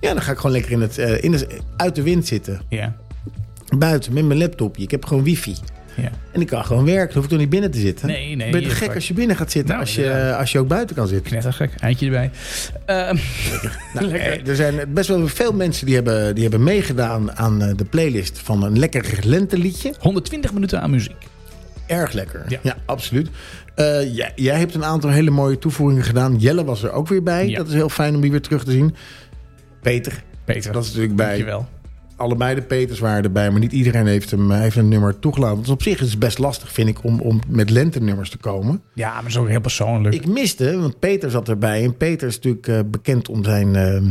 Speaker 2: Ja, dan ga ik gewoon lekker in het, eh, in de, uit de wind zitten.
Speaker 1: Ja.
Speaker 2: Buiten met mijn laptopje. Ik heb gewoon wifi.
Speaker 1: ja.
Speaker 2: En ik kan gewoon werken. Dan hoef ik toch niet binnen te zitten.
Speaker 1: Nee, nee,
Speaker 2: Ben
Speaker 1: je
Speaker 2: je toch gek
Speaker 1: pakt-
Speaker 2: als je binnen gaat zitten?
Speaker 1: Nou,
Speaker 2: als, je,
Speaker 1: inderdaad.
Speaker 2: als je ook buiten kan zitten.
Speaker 1: Knettergek. Eindje erbij. Ehm, lekker.
Speaker 2: Eh, Er zijn best wel veel mensen die hebben, die hebben meegedaan aan eh, de playlist van een lekker lenteliedje.
Speaker 1: 120 minuten aan muziek.
Speaker 2: Erg lekker. Ja,
Speaker 1: Ja.
Speaker 2: absoluut. Eh, jij, jij hebt een aantal hele mooie toevoegingen gedaan. Jelle was er ook weer bij.
Speaker 1: Ja.
Speaker 2: Dat is heel fijn om die weer terug te zien. Peter,
Speaker 1: Peter,
Speaker 2: dat is natuurlijk bij.
Speaker 1: dankjewel.
Speaker 2: Allebei de Peters waren erbij, maar niet iedereen heeft, hem, eh, heeft een nummer toegelaten. Dus op zich is het best lastig, vind ik, om, om met lentenummers te komen.
Speaker 1: Ja, maar zo heel persoonlijk.
Speaker 2: Ik miste, want Peter zat erbij. En Peter is natuurlijk eh, bekend om zijn. ehm,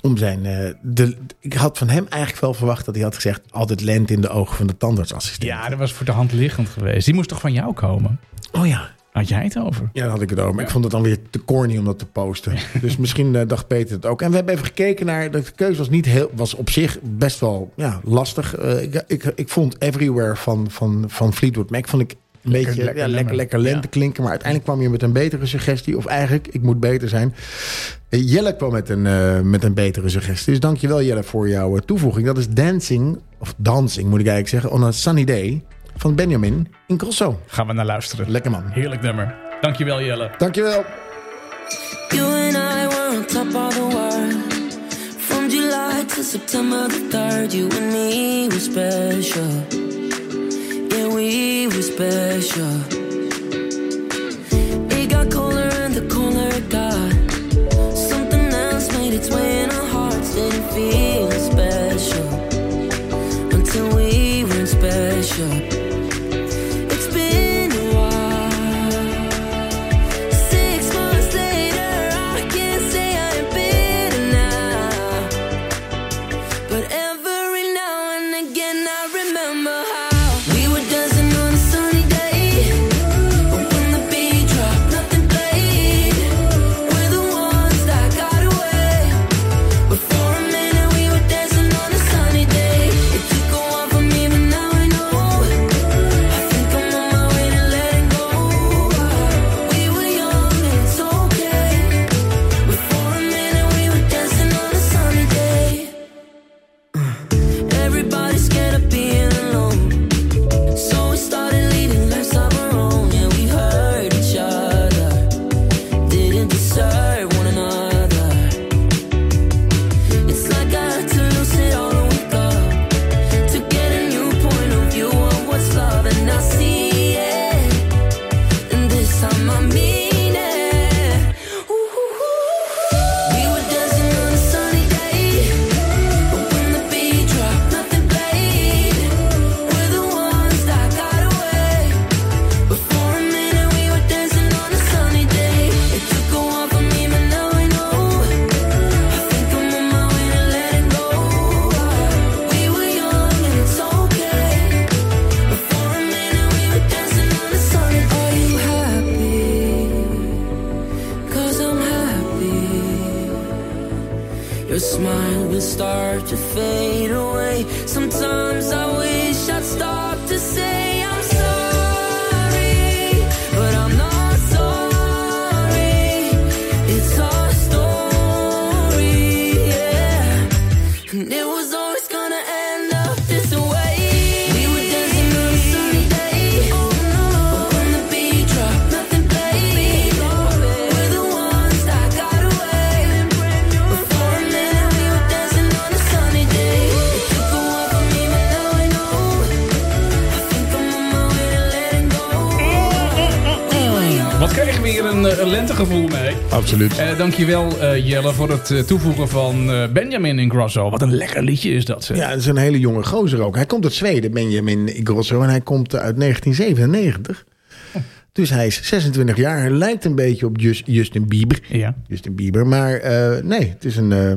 Speaker 2: om zijn eh, de, ik had van hem eigenlijk wel verwacht dat hij had gezegd: altijd lente in de ogen van de tandartsassistent.
Speaker 1: ja, dat was voor de hand liggend geweest. Die moest toch van jou komen?
Speaker 2: Oh ja.
Speaker 1: Had jij het over?
Speaker 2: Ja, daar had ik het over. Maar ik vond het dan weer te corny om dat te posten. Dus misschien eh, dacht Peter het ook. En we hebben even gekeken naar. De keuze was, niet heel, was op zich best wel ja, lastig. Eh, ik, ik, ik vond Everywhere van, van, van Fleetwood Mac. Vond ik een
Speaker 1: Lekker,
Speaker 2: beetje
Speaker 1: lekker
Speaker 2: ja, lekker,
Speaker 1: nummer.
Speaker 2: lekker lente
Speaker 1: Ja.
Speaker 2: klinken. Maar uiteindelijk kwam je met een betere suggestie. Of eigenlijk, ik moet beter zijn. Eh, Jelle kwam met een, eh, met een betere suggestie. Dus dankjewel Jelle voor jouw eh, toevoeging. Dat is Dancing, of Dancing moet ik eigenlijk zeggen. On a Sunny Day van Benjamin in Crosso.
Speaker 1: Gaan we naar luisteren.
Speaker 2: Lekker man.
Speaker 1: Heerlijk nummer. Dankjewel, Jelle.
Speaker 2: Dankjewel.
Speaker 5: You and I were on top of the world. From July to September the 3rd, you and me were special. Yeah, we were special. It got colder and the colder it got. Something else made its way in our hearts. Didn't feel special until we were special. It's been a while. Six months later, I can't say I'm bitter now. But every now and again, I remember how we were dancing on a sunny day. When the beat dropped, nothing played. We're the ones that got away. But for a minute, we Your smile will start to fade away. Sometimes I wish I'd stop to say I'm sorry, but I'm not sorry. It's our story, yeah. And Mm-hmm. it was always gonna end up this way. We were dancing on a sunny day. Oh no. On the beach, rock, nothing played. We're the ones that got away. But for a minute, we were dancing on a sunny day. It took a while for me, but now I know. I think I'm on my way to letting go. We were young.
Speaker 1: Wat kregen we hier een, eh, een lentegevoel mee?
Speaker 6: Absoluut.
Speaker 1: Eh dankjewel eh, Jelle voor het eh, toevoegen van eh, Benjamin in Grosso. Wat een lekker liedje is dat. zeg.
Speaker 2: Ja, dat is een hele jonge gozer ook. Hij komt uit Zweden, Benjamin Grosso. En hij komt uit 1997. Dus hij is 26 jaar. Hij lijkt een beetje op Jus- Justin Bieber.
Speaker 1: Ja.
Speaker 2: Justin Bieber. Maar eh, nee, het is een eh,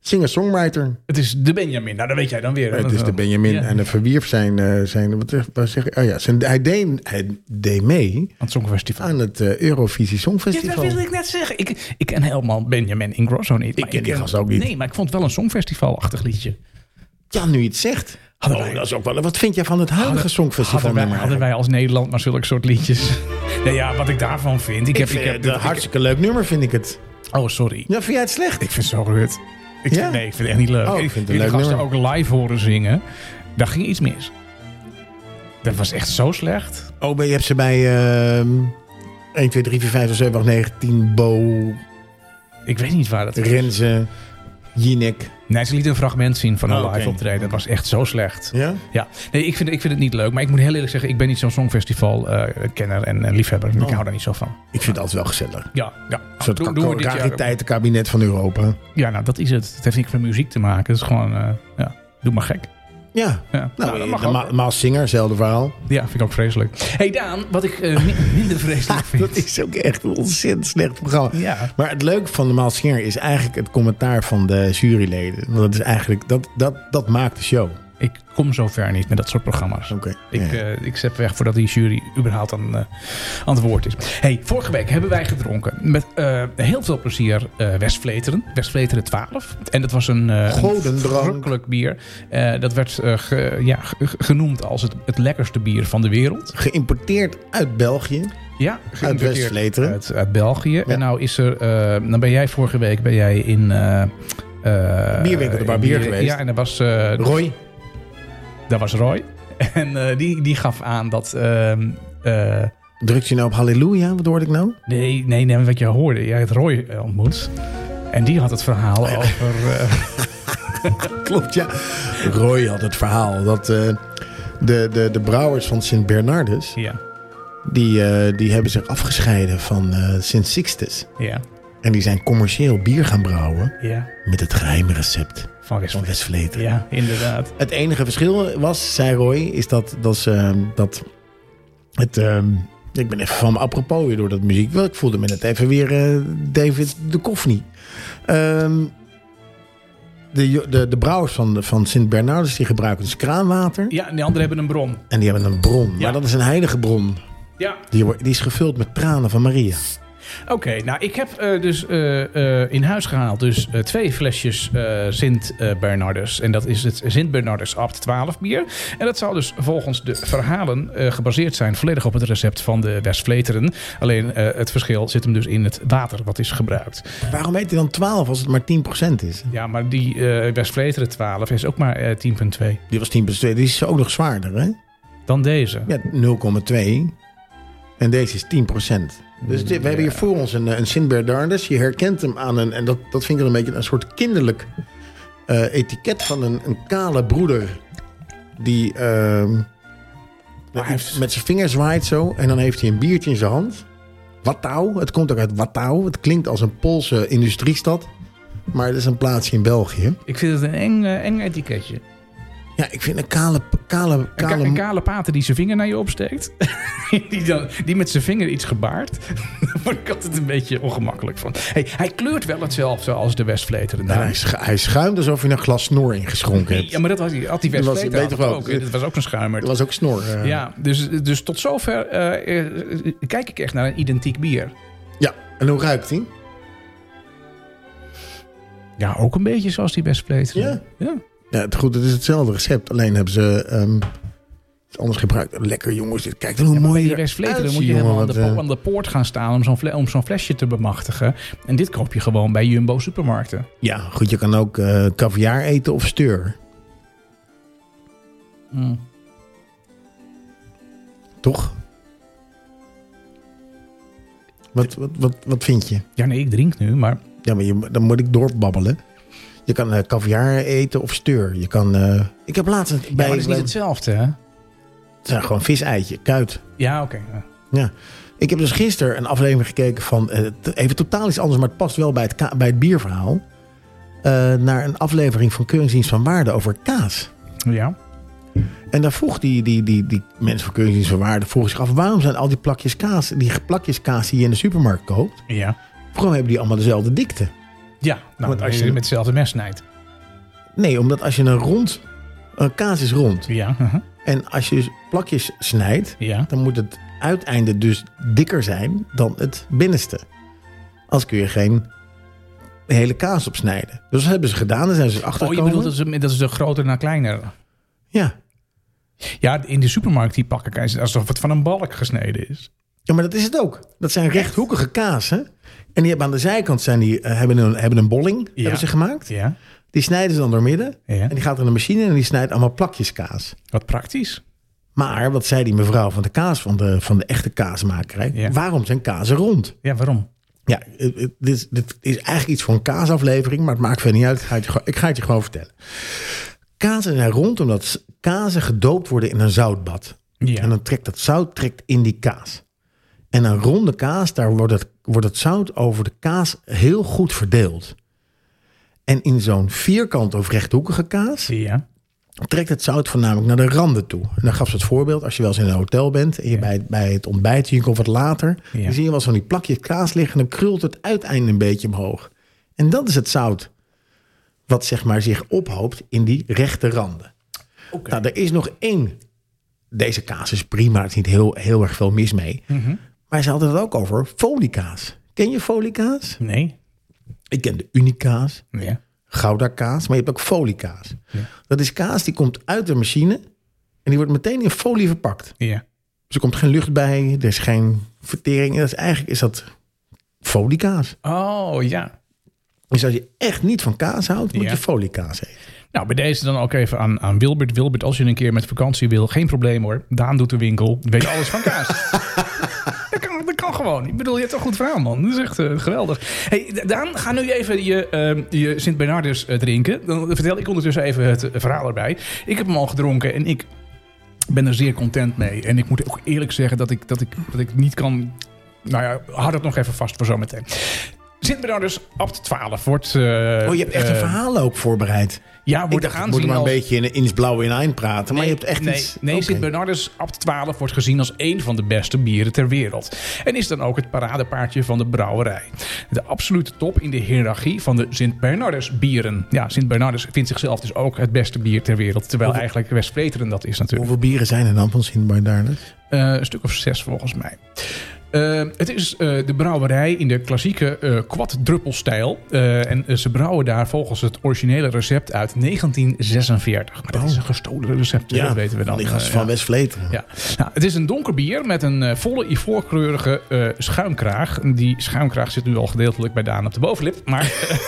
Speaker 2: singer-songwriter.
Speaker 1: Het is de Benjamin. Nou, dat weet jij dan weer.
Speaker 2: Het is de Benjamin.
Speaker 1: Ja.
Speaker 2: En de verwierf zijn... eh, zijn wat, wat zeg ik? Oh ja, zijn, hij, deed, hij deed mee
Speaker 1: Aan het Songfestival.
Speaker 2: aan het eh, Eurovisie
Speaker 1: Ja, dat
Speaker 2: Songfestival.
Speaker 1: wilde ik net zeggen. Ik, ik ken helemaal Benjamin Ingrosso niet. maar
Speaker 2: ken die gast ook niet.
Speaker 1: Nee, maar ik vond het wel een Songfestival-achtig liedje.
Speaker 2: Ja, nu je het zegt.
Speaker 1: Hadden
Speaker 2: Oh,
Speaker 1: wij-
Speaker 2: dat is ook wel... Wat vind jij van het huidige Songfestival?
Speaker 1: Hadden wij,
Speaker 2: nummer
Speaker 1: hadden wij als Nederland maar zulke soort liedjes. Nee, ja, wat ik daarvan vind. Ik,
Speaker 2: Ik
Speaker 1: heb,
Speaker 2: vind
Speaker 1: ik heb
Speaker 2: het een hartstikke leuk nummer, vind ik het.
Speaker 1: Oh, sorry.
Speaker 2: Ja, vind jij het slecht?
Speaker 1: Ik vind het zo rut. Ik
Speaker 2: Ja?
Speaker 1: vind, nee, ik vind het echt niet leuk.
Speaker 2: Oh, ik
Speaker 1: ik
Speaker 2: vind het
Speaker 1: vind
Speaker 2: een
Speaker 1: de
Speaker 2: leuk
Speaker 1: gasten ook
Speaker 2: nummer.
Speaker 1: live horen zingen. Daar ging iets mis. Dat was echt zo slecht.
Speaker 2: OB, Oh, je hebt ze bij ehm 1, 2, 3, 4, 5, 6, 7, 8, 9, 10, Bo,
Speaker 1: Ik weet niet waar dat is.
Speaker 2: Renze, Jinek.
Speaker 1: Nee, ze lieten een fragment zien van een
Speaker 2: Oh, oké.
Speaker 1: live optreden. Dat was echt zo slecht.
Speaker 2: Ja?
Speaker 1: Ja, nee, ik vind, ik vind het niet leuk. Maar ik moet heel eerlijk zeggen, ik ben niet zo'n songfestival-kenner en eh, liefhebber. Ik
Speaker 2: Oh.
Speaker 1: hou daar niet zo van.
Speaker 2: Ik vind het altijd wel gezellig. Een
Speaker 1: Ja, ja.
Speaker 2: soort
Speaker 1: Doen-
Speaker 2: kak-
Speaker 1: doen we dit jaar ook.
Speaker 2: rariteitenkabinet van Europa.
Speaker 1: Ja, nou, dat is het. Het heeft niks met muziek te maken. Het is gewoon, eh, ja, doe maar gek.
Speaker 2: Ja.
Speaker 1: Ja,
Speaker 2: Nou,
Speaker 1: dat
Speaker 2: eh,
Speaker 1: mag
Speaker 2: de
Speaker 1: ook.
Speaker 2: Ma- Maas Singer, hetzelfde verhaal.
Speaker 1: Ja, vind ik ook vreselijk. hey Daan, wat ik eh, mi- minder vreselijk vind.
Speaker 2: Dat is ook echt een ontzettend slecht programma.
Speaker 1: Ja.
Speaker 2: Maar het leuke van de Maas Singer is eigenlijk het commentaar van de juryleden. Want dat is eigenlijk, dat, dat, dat maakt de show.
Speaker 1: Ik kom zo ver niet met dat soort programma's.
Speaker 2: Oké.
Speaker 1: Ik,
Speaker 2: Ja.
Speaker 1: eh, ik zet weg voordat die jury überhaupt aan, eh, aan het woord is. hey, vorige week hebben wij gedronken met eh, heel veel plezier eh Westvleteren. Westvleteren 12. En dat was een, eh, een
Speaker 2: Godendrank.
Speaker 1: verrukkelijk bier. Eh, dat werd eh, ge- ja, ge- genoemd als het, het lekkerste bier van de wereld.
Speaker 2: Geïmporteerd uit België.
Speaker 1: Ja, geïmporteerd
Speaker 2: West-Vleteren.
Speaker 1: Uit, uit België. En nou is er, eh, dan ben jij vorige week ben jij in... eh eh,
Speaker 2: Bierwinkel de
Speaker 1: in
Speaker 2: Barbier geweest.
Speaker 1: Ja, en er was eh,
Speaker 2: Roy.
Speaker 1: Dat was Roy. En eh, die, die gaf aan dat. ehm, eh,
Speaker 2: Drukt je nou op Halleluja? Wat hoorde ik nou?
Speaker 1: nee, nee, nee, wat je hoorde. Jij hebt Roy eh, ontmoet. En die had het verhaal over. eh,
Speaker 2: Klopt, ja. Roy had het verhaal dat eh, de, de, de brouwers van Sint Bernardus...
Speaker 1: ja,
Speaker 2: Die, eh, die hebben zich afgescheiden van eh, Sint Sixtus.
Speaker 1: ja,
Speaker 2: En die zijn commercieel bier gaan brouwen
Speaker 1: ja.
Speaker 2: met het geheime recept
Speaker 1: Van West
Speaker 2: van
Speaker 1: van
Speaker 2: Westvleteren.
Speaker 1: Ja, inderdaad.
Speaker 2: Het enige verschil was, zei Roy, is dat, dat, ze, ehm, dat het... ehm, ik ben even van me apropos weer door dat muziek. Wel, Ik voelde me net even weer eh, David de Koffie. Ehm, de, jo- de, de brouwers van, de- van Sint Bernardus die gebruiken dus kraanwater.
Speaker 1: Ja, en die anderen hebben een bron.
Speaker 2: En die hebben een bron. Maar dat is een heilige bron.
Speaker 1: Ja,
Speaker 2: Die, wordt- die is gevuld met tranen van Maria.
Speaker 1: oké. nou, ik heb eh, dus eh, eh, in huis gehaald dus, eh, twee flesjes eh, Sint eh, Bernardus. En dat is het Sint Bernardus Abt 12 bier. En dat zal dus volgens de verhalen eh, gebaseerd zijn volledig op het recept van de Westvleteren. Alleen eh, het verschil zit hem dus in het water wat is gebruikt.
Speaker 2: Waarom heet hij dan 12 als het maar 10% is?
Speaker 1: Ja, maar die eh Westvleteren 12 is ook maar eh, 10,2.
Speaker 2: Die was 10%. Die is ook nog zwaarder, hè?
Speaker 1: Dan deze.
Speaker 2: Ja, 0,2. En deze is 10%. Dus dit- we hebben hier voor ons een, eh, een Sint Bernardus. Je herkent hem aan een... En dat, dat vind ik wel een beetje een soort kinderlijk eh, etiket van een, een kale broeder. Die ehm,
Speaker 1: hij heeft-
Speaker 2: met zijn vinger zwaait zo. En dan heeft hij een biertje in zijn hand. Watau. Het komt ook uit Watau. Het klinkt als een Poolse industriestad. Maar het is een plaatsje in België.
Speaker 1: Ik vind het een eng, eh, eng etiketje.
Speaker 2: Ja, ik vind een kale... kale,
Speaker 1: Een, ka-
Speaker 2: kale
Speaker 1: een kale pater die zijn vinger naar je opsteekt. die, dan, die met zijn vinger iets gebaart. Daar word ik altijd een beetje ongemakkelijk van. Hey, hij kleurt wel hetzelfde als de Westvleteren.
Speaker 2: en Nou, hij, schu- hij schuimt alsof je een glas snor ingeschonken hebt.
Speaker 1: ja, maar dat was, die- had die
Speaker 2: Dat was-
Speaker 1: Westvleteren
Speaker 2: weet
Speaker 1: had
Speaker 2: toch
Speaker 1: het
Speaker 2: wel.
Speaker 1: ook. hè? Dat was ook een schuimer.
Speaker 2: Dat was ook snor. eh.
Speaker 1: Ja, dus, dus tot zover eh, eh, kijk ik echt naar een identiek bier.
Speaker 2: Ja, en hoe ruikt hij?
Speaker 1: Ja, ook een beetje zoals die best plate.
Speaker 2: Ja.
Speaker 1: ja.
Speaker 2: Ja, het, goed, het is hetzelfde recept. Alleen hebben ze ehm, het anders gebruikt. Lekker jongens, dit, kijk dan hoe
Speaker 1: Maar
Speaker 2: mooi
Speaker 1: die
Speaker 2: je
Speaker 1: West Vleteren
Speaker 2: eruit
Speaker 1: moet je
Speaker 2: ziet,
Speaker 1: helemaal aan
Speaker 2: jongen, eh,
Speaker 1: de,
Speaker 2: wat,
Speaker 1: po- aan de poort gaan staan om zo'n, fle- om zo'n flesje te bemachtigen. En dit koop je gewoon bij Jumbo supermarkten.
Speaker 2: eh, Ja, goed, je kan ook eh caviar eten of steur.
Speaker 1: Mm.
Speaker 2: Toch? Wat, wat, wat, wat vind je?
Speaker 1: Ja, nee, ik drink nu, maar
Speaker 2: Ja, maar je, dan moet ik doorbabbelen. Je kan eh caviar eten of steur. Je kan... eh, ik heb laatst een-
Speaker 1: Ja,
Speaker 2: bij...
Speaker 1: maar dat is niet
Speaker 2: bij-
Speaker 1: hetzelfde, hè?
Speaker 2: het zijn gewoon viseitje, kuit.
Speaker 1: Ja, oké. ja.
Speaker 2: Ja. Ik heb dus gisteren een aflevering gekeken van... eh, t- even totaal iets anders, maar het past wel bij het, ka- bij het bierverhaal. Eh, naar een aflevering van Keuringsdienst van Waarde over kaas.
Speaker 1: Ja.
Speaker 2: En daar vroeg die, die, die, die mensen van Keuringsdienst van Waarde... vroegen zich af, waarom zijn al die plakjes kaas... die plakjes kaas die je in de supermarkt koopt...
Speaker 1: Ja.
Speaker 2: waarom hebben die allemaal dezelfde dikte?
Speaker 1: Ja, nou,
Speaker 2: Want
Speaker 1: als je
Speaker 2: als je-
Speaker 1: met hetzelfde mes snijdt.
Speaker 2: Nee, omdat als je een rond... een kaas is rond.
Speaker 1: Ja. aha.
Speaker 2: En als je dus plakjes snijdt...
Speaker 1: Ja.
Speaker 2: dan moet het uiteinde dus dikker zijn dan het binnenste. Anders kun je geen hele kaas opsnijden. Dus dat hebben ze gedaan. Dan zijn ze
Speaker 1: Oh, je
Speaker 2: achtergekomen.
Speaker 1: bedoelt dat ze, dat ze de groter naar kleiner...
Speaker 2: ja.
Speaker 1: Ja, in de supermarkt die pakken kijken alsof het van een balk gesneden is.
Speaker 2: ja, maar dat is het ook. Dat zijn rechthoekige kazen. En die hebben aan de zijkant zijn die, eh, hebben een, hebben een bolling
Speaker 1: Ja.
Speaker 2: hebben ze gemaakt.
Speaker 1: Ja.
Speaker 2: Die snijden ze dan door midden.
Speaker 1: Ja.
Speaker 2: En die gaat in een machine en die snijdt allemaal plakjes kaas.
Speaker 1: Wat praktisch.
Speaker 2: Maar wat zei die mevrouw van de kaas, van de, van de echte kaasmakerij?
Speaker 1: Ja.
Speaker 2: Waarom zijn kazen rond?
Speaker 1: Ja, waarom?
Speaker 2: Ja, het- het- dit, is- dit is eigenlijk iets voor een kaasaflevering, maar het maakt verder niet uit. Ik ga het je, gewoon- ik ga het je gewoon vertellen. Kazen zijn rond omdat s- kazen gedoopt worden in een zoutbad.
Speaker 1: Ja.
Speaker 2: En dan trekt dat zout trekt in die kaas. En een ronde kaas, daar wordt het, wordt het zout over de kaas heel goed verdeeld. En in zo'n vierkant of rechthoekige kaas
Speaker 1: Ja.
Speaker 2: trekt het zout voornamelijk naar de randen toe. En dan gaf ze het voorbeeld, als je wel eens in een hotel bent... en je
Speaker 1: Ja.
Speaker 2: bij, het- bij het ontbijt, je komt wat later...
Speaker 1: Ja.
Speaker 2: dan zie je wel zo'n die plakje kaas liggen... en dan krult het uiteinde een beetje omhoog. En dat is het zout wat zeg maar, zich ophoopt in die rechte randen.
Speaker 1: Oké.
Speaker 2: Nou, er is nog één... Deze kaas is prima, er is niet heel, heel erg veel mis mee.
Speaker 1: Mhm.
Speaker 2: Maar ze hadden het ook over foliekaas. Ken je foliekaas?
Speaker 1: Nee.
Speaker 2: Ik ken de uniekaas.
Speaker 1: Ja.
Speaker 2: Gouda kaas, maar je hebt ook foliekaas. Dat is kaas die komt uit de machine en die wordt meteen in folie verpakt.
Speaker 1: Ja.
Speaker 2: Dus er komt geen lucht bij, er is geen vertering. En dat is, eigenlijk is dat foliekaas.
Speaker 1: Oh, ja.
Speaker 2: Dus als je echt niet van kaas houdt, moet
Speaker 1: Ja.
Speaker 2: je foliekaas eten.
Speaker 1: Nou, bij deze dan ook even aan, aan Wilbert. Wilbert, als je een keer met vakantie wil, geen probleem hoor. Daan doet de winkel, weet alles van kaas. dat, kan, dat kan gewoon. Ik bedoel, je hebt een goed verhaal, man. Dat is echt eh, geweldig. Hey, Da- Daan, ga nu even je, eh, je Sint-Bernardus eh, drinken. Dan vertel ik ondertussen even het eh, verhaal erbij. Ik heb hem al gedronken en ik ben er zeer content mee. En ik moet ook eerlijk zeggen dat ik, dat ik, dat ik niet kan... Nou ja, houd het nog even vast voor zometeen. Sint-Bernardus, abt 12, wordt... oh,
Speaker 2: Oh, je hebt echt een verhaal ook voorbereid.
Speaker 1: Ja,
Speaker 2: Ik
Speaker 1: wordt
Speaker 2: dacht, ik
Speaker 1: aanzien
Speaker 2: moet maar een
Speaker 1: als-
Speaker 2: beetje in, in het blauw in eind praten. Maar je hebt echt
Speaker 1: nee,
Speaker 2: iets...
Speaker 1: Nee,
Speaker 2: Oké.
Speaker 1: Sint-Bernardus Abt 12 wordt gezien als één van de beste bieren ter wereld. En is dan ook het paradepaardje van de brouwerij. De absolute top in de hiërarchie van de Sint-Bernardus bieren. Ja, Sint-Bernardus vindt zichzelf dus ook het beste bier ter wereld. Terwijl eigenlijk West-Vleteren dat is natuurlijk.
Speaker 2: Hoeveel bieren zijn er dan van dus? Sint-Bernardus?
Speaker 1: Eh, een stuk of zes volgens mij. Eh, het is eh, de brouwerij in de klassieke eh kwaddruppelstijl. Eh, en eh, ze brouwen daar volgens het originele recept uit 1946. Maar dat
Speaker 2: Oh.
Speaker 1: is een gestolen recept, dat weten we dan.
Speaker 2: Die gasten
Speaker 1: Eh,
Speaker 2: van
Speaker 1: ja.
Speaker 2: West-Vleteren.
Speaker 1: Ja. Nou, het is een donker bier met een eh, volle ivoorkleurige eh, schuimkraag. Die schuimkraag zit nu al gedeeltelijk bij Daan op de bovenlip. Maar eh,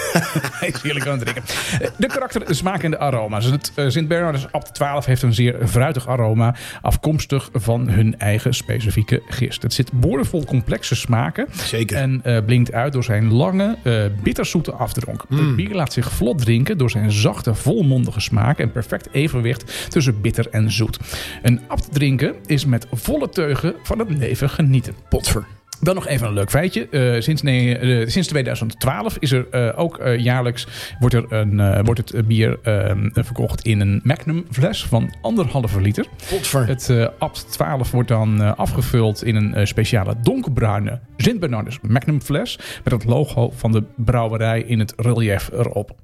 Speaker 1: hij is heerlijk aan het drinken. Eh, De karakter, de smaak en de aroma's. Het eh, Sint-Bernardus Abt 12 heeft een zeer fruitig aroma. Afkomstig van hun eigen specifieke gist. Het zit boordevol complexe smaken.
Speaker 2: Zeker.
Speaker 1: En eh, blinkt uit door zijn lange, eh, bitterzoete afdronk. Het bier laat zich vlot drinken door zijn zachte, volmondige smaak en perfect evenwicht tussen bitter en zoet. Een apt drinken is met volle teugen van het leven genieten.
Speaker 2: Potver.
Speaker 1: Dan nog even een leuk feitje. Eh, sinds, nee, eh, sinds 2012 is er eh, ook eh, jaarlijks wordt, er een, eh, wordt het eh, bier eh, verkocht in een Magnum fles van anderhalve liter.
Speaker 2: Potver.
Speaker 1: Het eh Abt 12 wordt dan eh, afgevuld in een eh, speciale donkerbruine Sint-Bernardus Magnum fles. Met het logo van de brouwerij in het relief erop.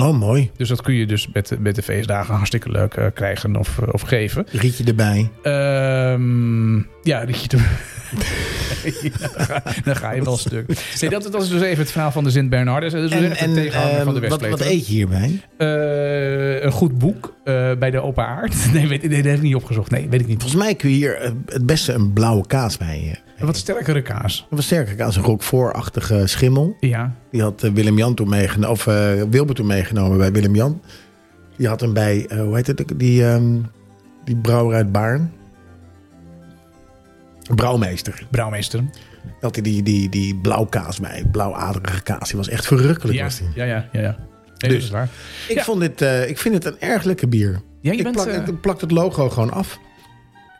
Speaker 2: Oh, mooi.
Speaker 1: Dus dat kun je dus met, de- met de feestdagen hartstikke leuk eh, krijgen of, of eh, geven.
Speaker 2: Rietje erbij.
Speaker 1: Ehm ja, rietje er- Dan ga je wel stuk. Nee, dat, dat is dus even het verhaal van de Sint Bernardus. Dat is dus
Speaker 2: En,
Speaker 1: echt een
Speaker 2: en
Speaker 1: tegenhanger van de
Speaker 2: ehm, wat,
Speaker 1: Westpleet.
Speaker 2: wat eet je hierbij?
Speaker 1: Eh, een goed boek eh, bij de open aard. Nee, weet, nee, dat heb ik niet opgezocht. Nee, weet ik niet.
Speaker 2: Volgens mij kun je hier eh, het beste een blauwe kaas bij. eh,
Speaker 1: Een wat sterkere kaas.
Speaker 2: Een wat sterke kaas, een roquefort-achtige schimmel.
Speaker 1: Ja.
Speaker 2: Die had eh, Willem-Jan toen meegenomen, of eh Wilbert toen meegenomen bij Willem-Jan. Die had hem bij, eh, hoe heet het, ook, die, ehm, die brouwer uit Baarn. Brouwmeester.
Speaker 1: Brouwmeester.
Speaker 2: Dat hij die, die, die blauwkaas bij, blauwaderige kaas. Die was echt verrukkelijk.
Speaker 1: Ja,
Speaker 2: was die.
Speaker 1: ja, ja. ja, ja. Nee, dat
Speaker 2: Dus.
Speaker 1: is waar.
Speaker 2: Ik,
Speaker 1: Ja.
Speaker 2: vond dit, eh, ik vind het een erg lekker bier.
Speaker 1: Ja, je
Speaker 2: ik
Speaker 1: bent,
Speaker 2: plak,
Speaker 1: eh,
Speaker 2: ik plak het logo gewoon af.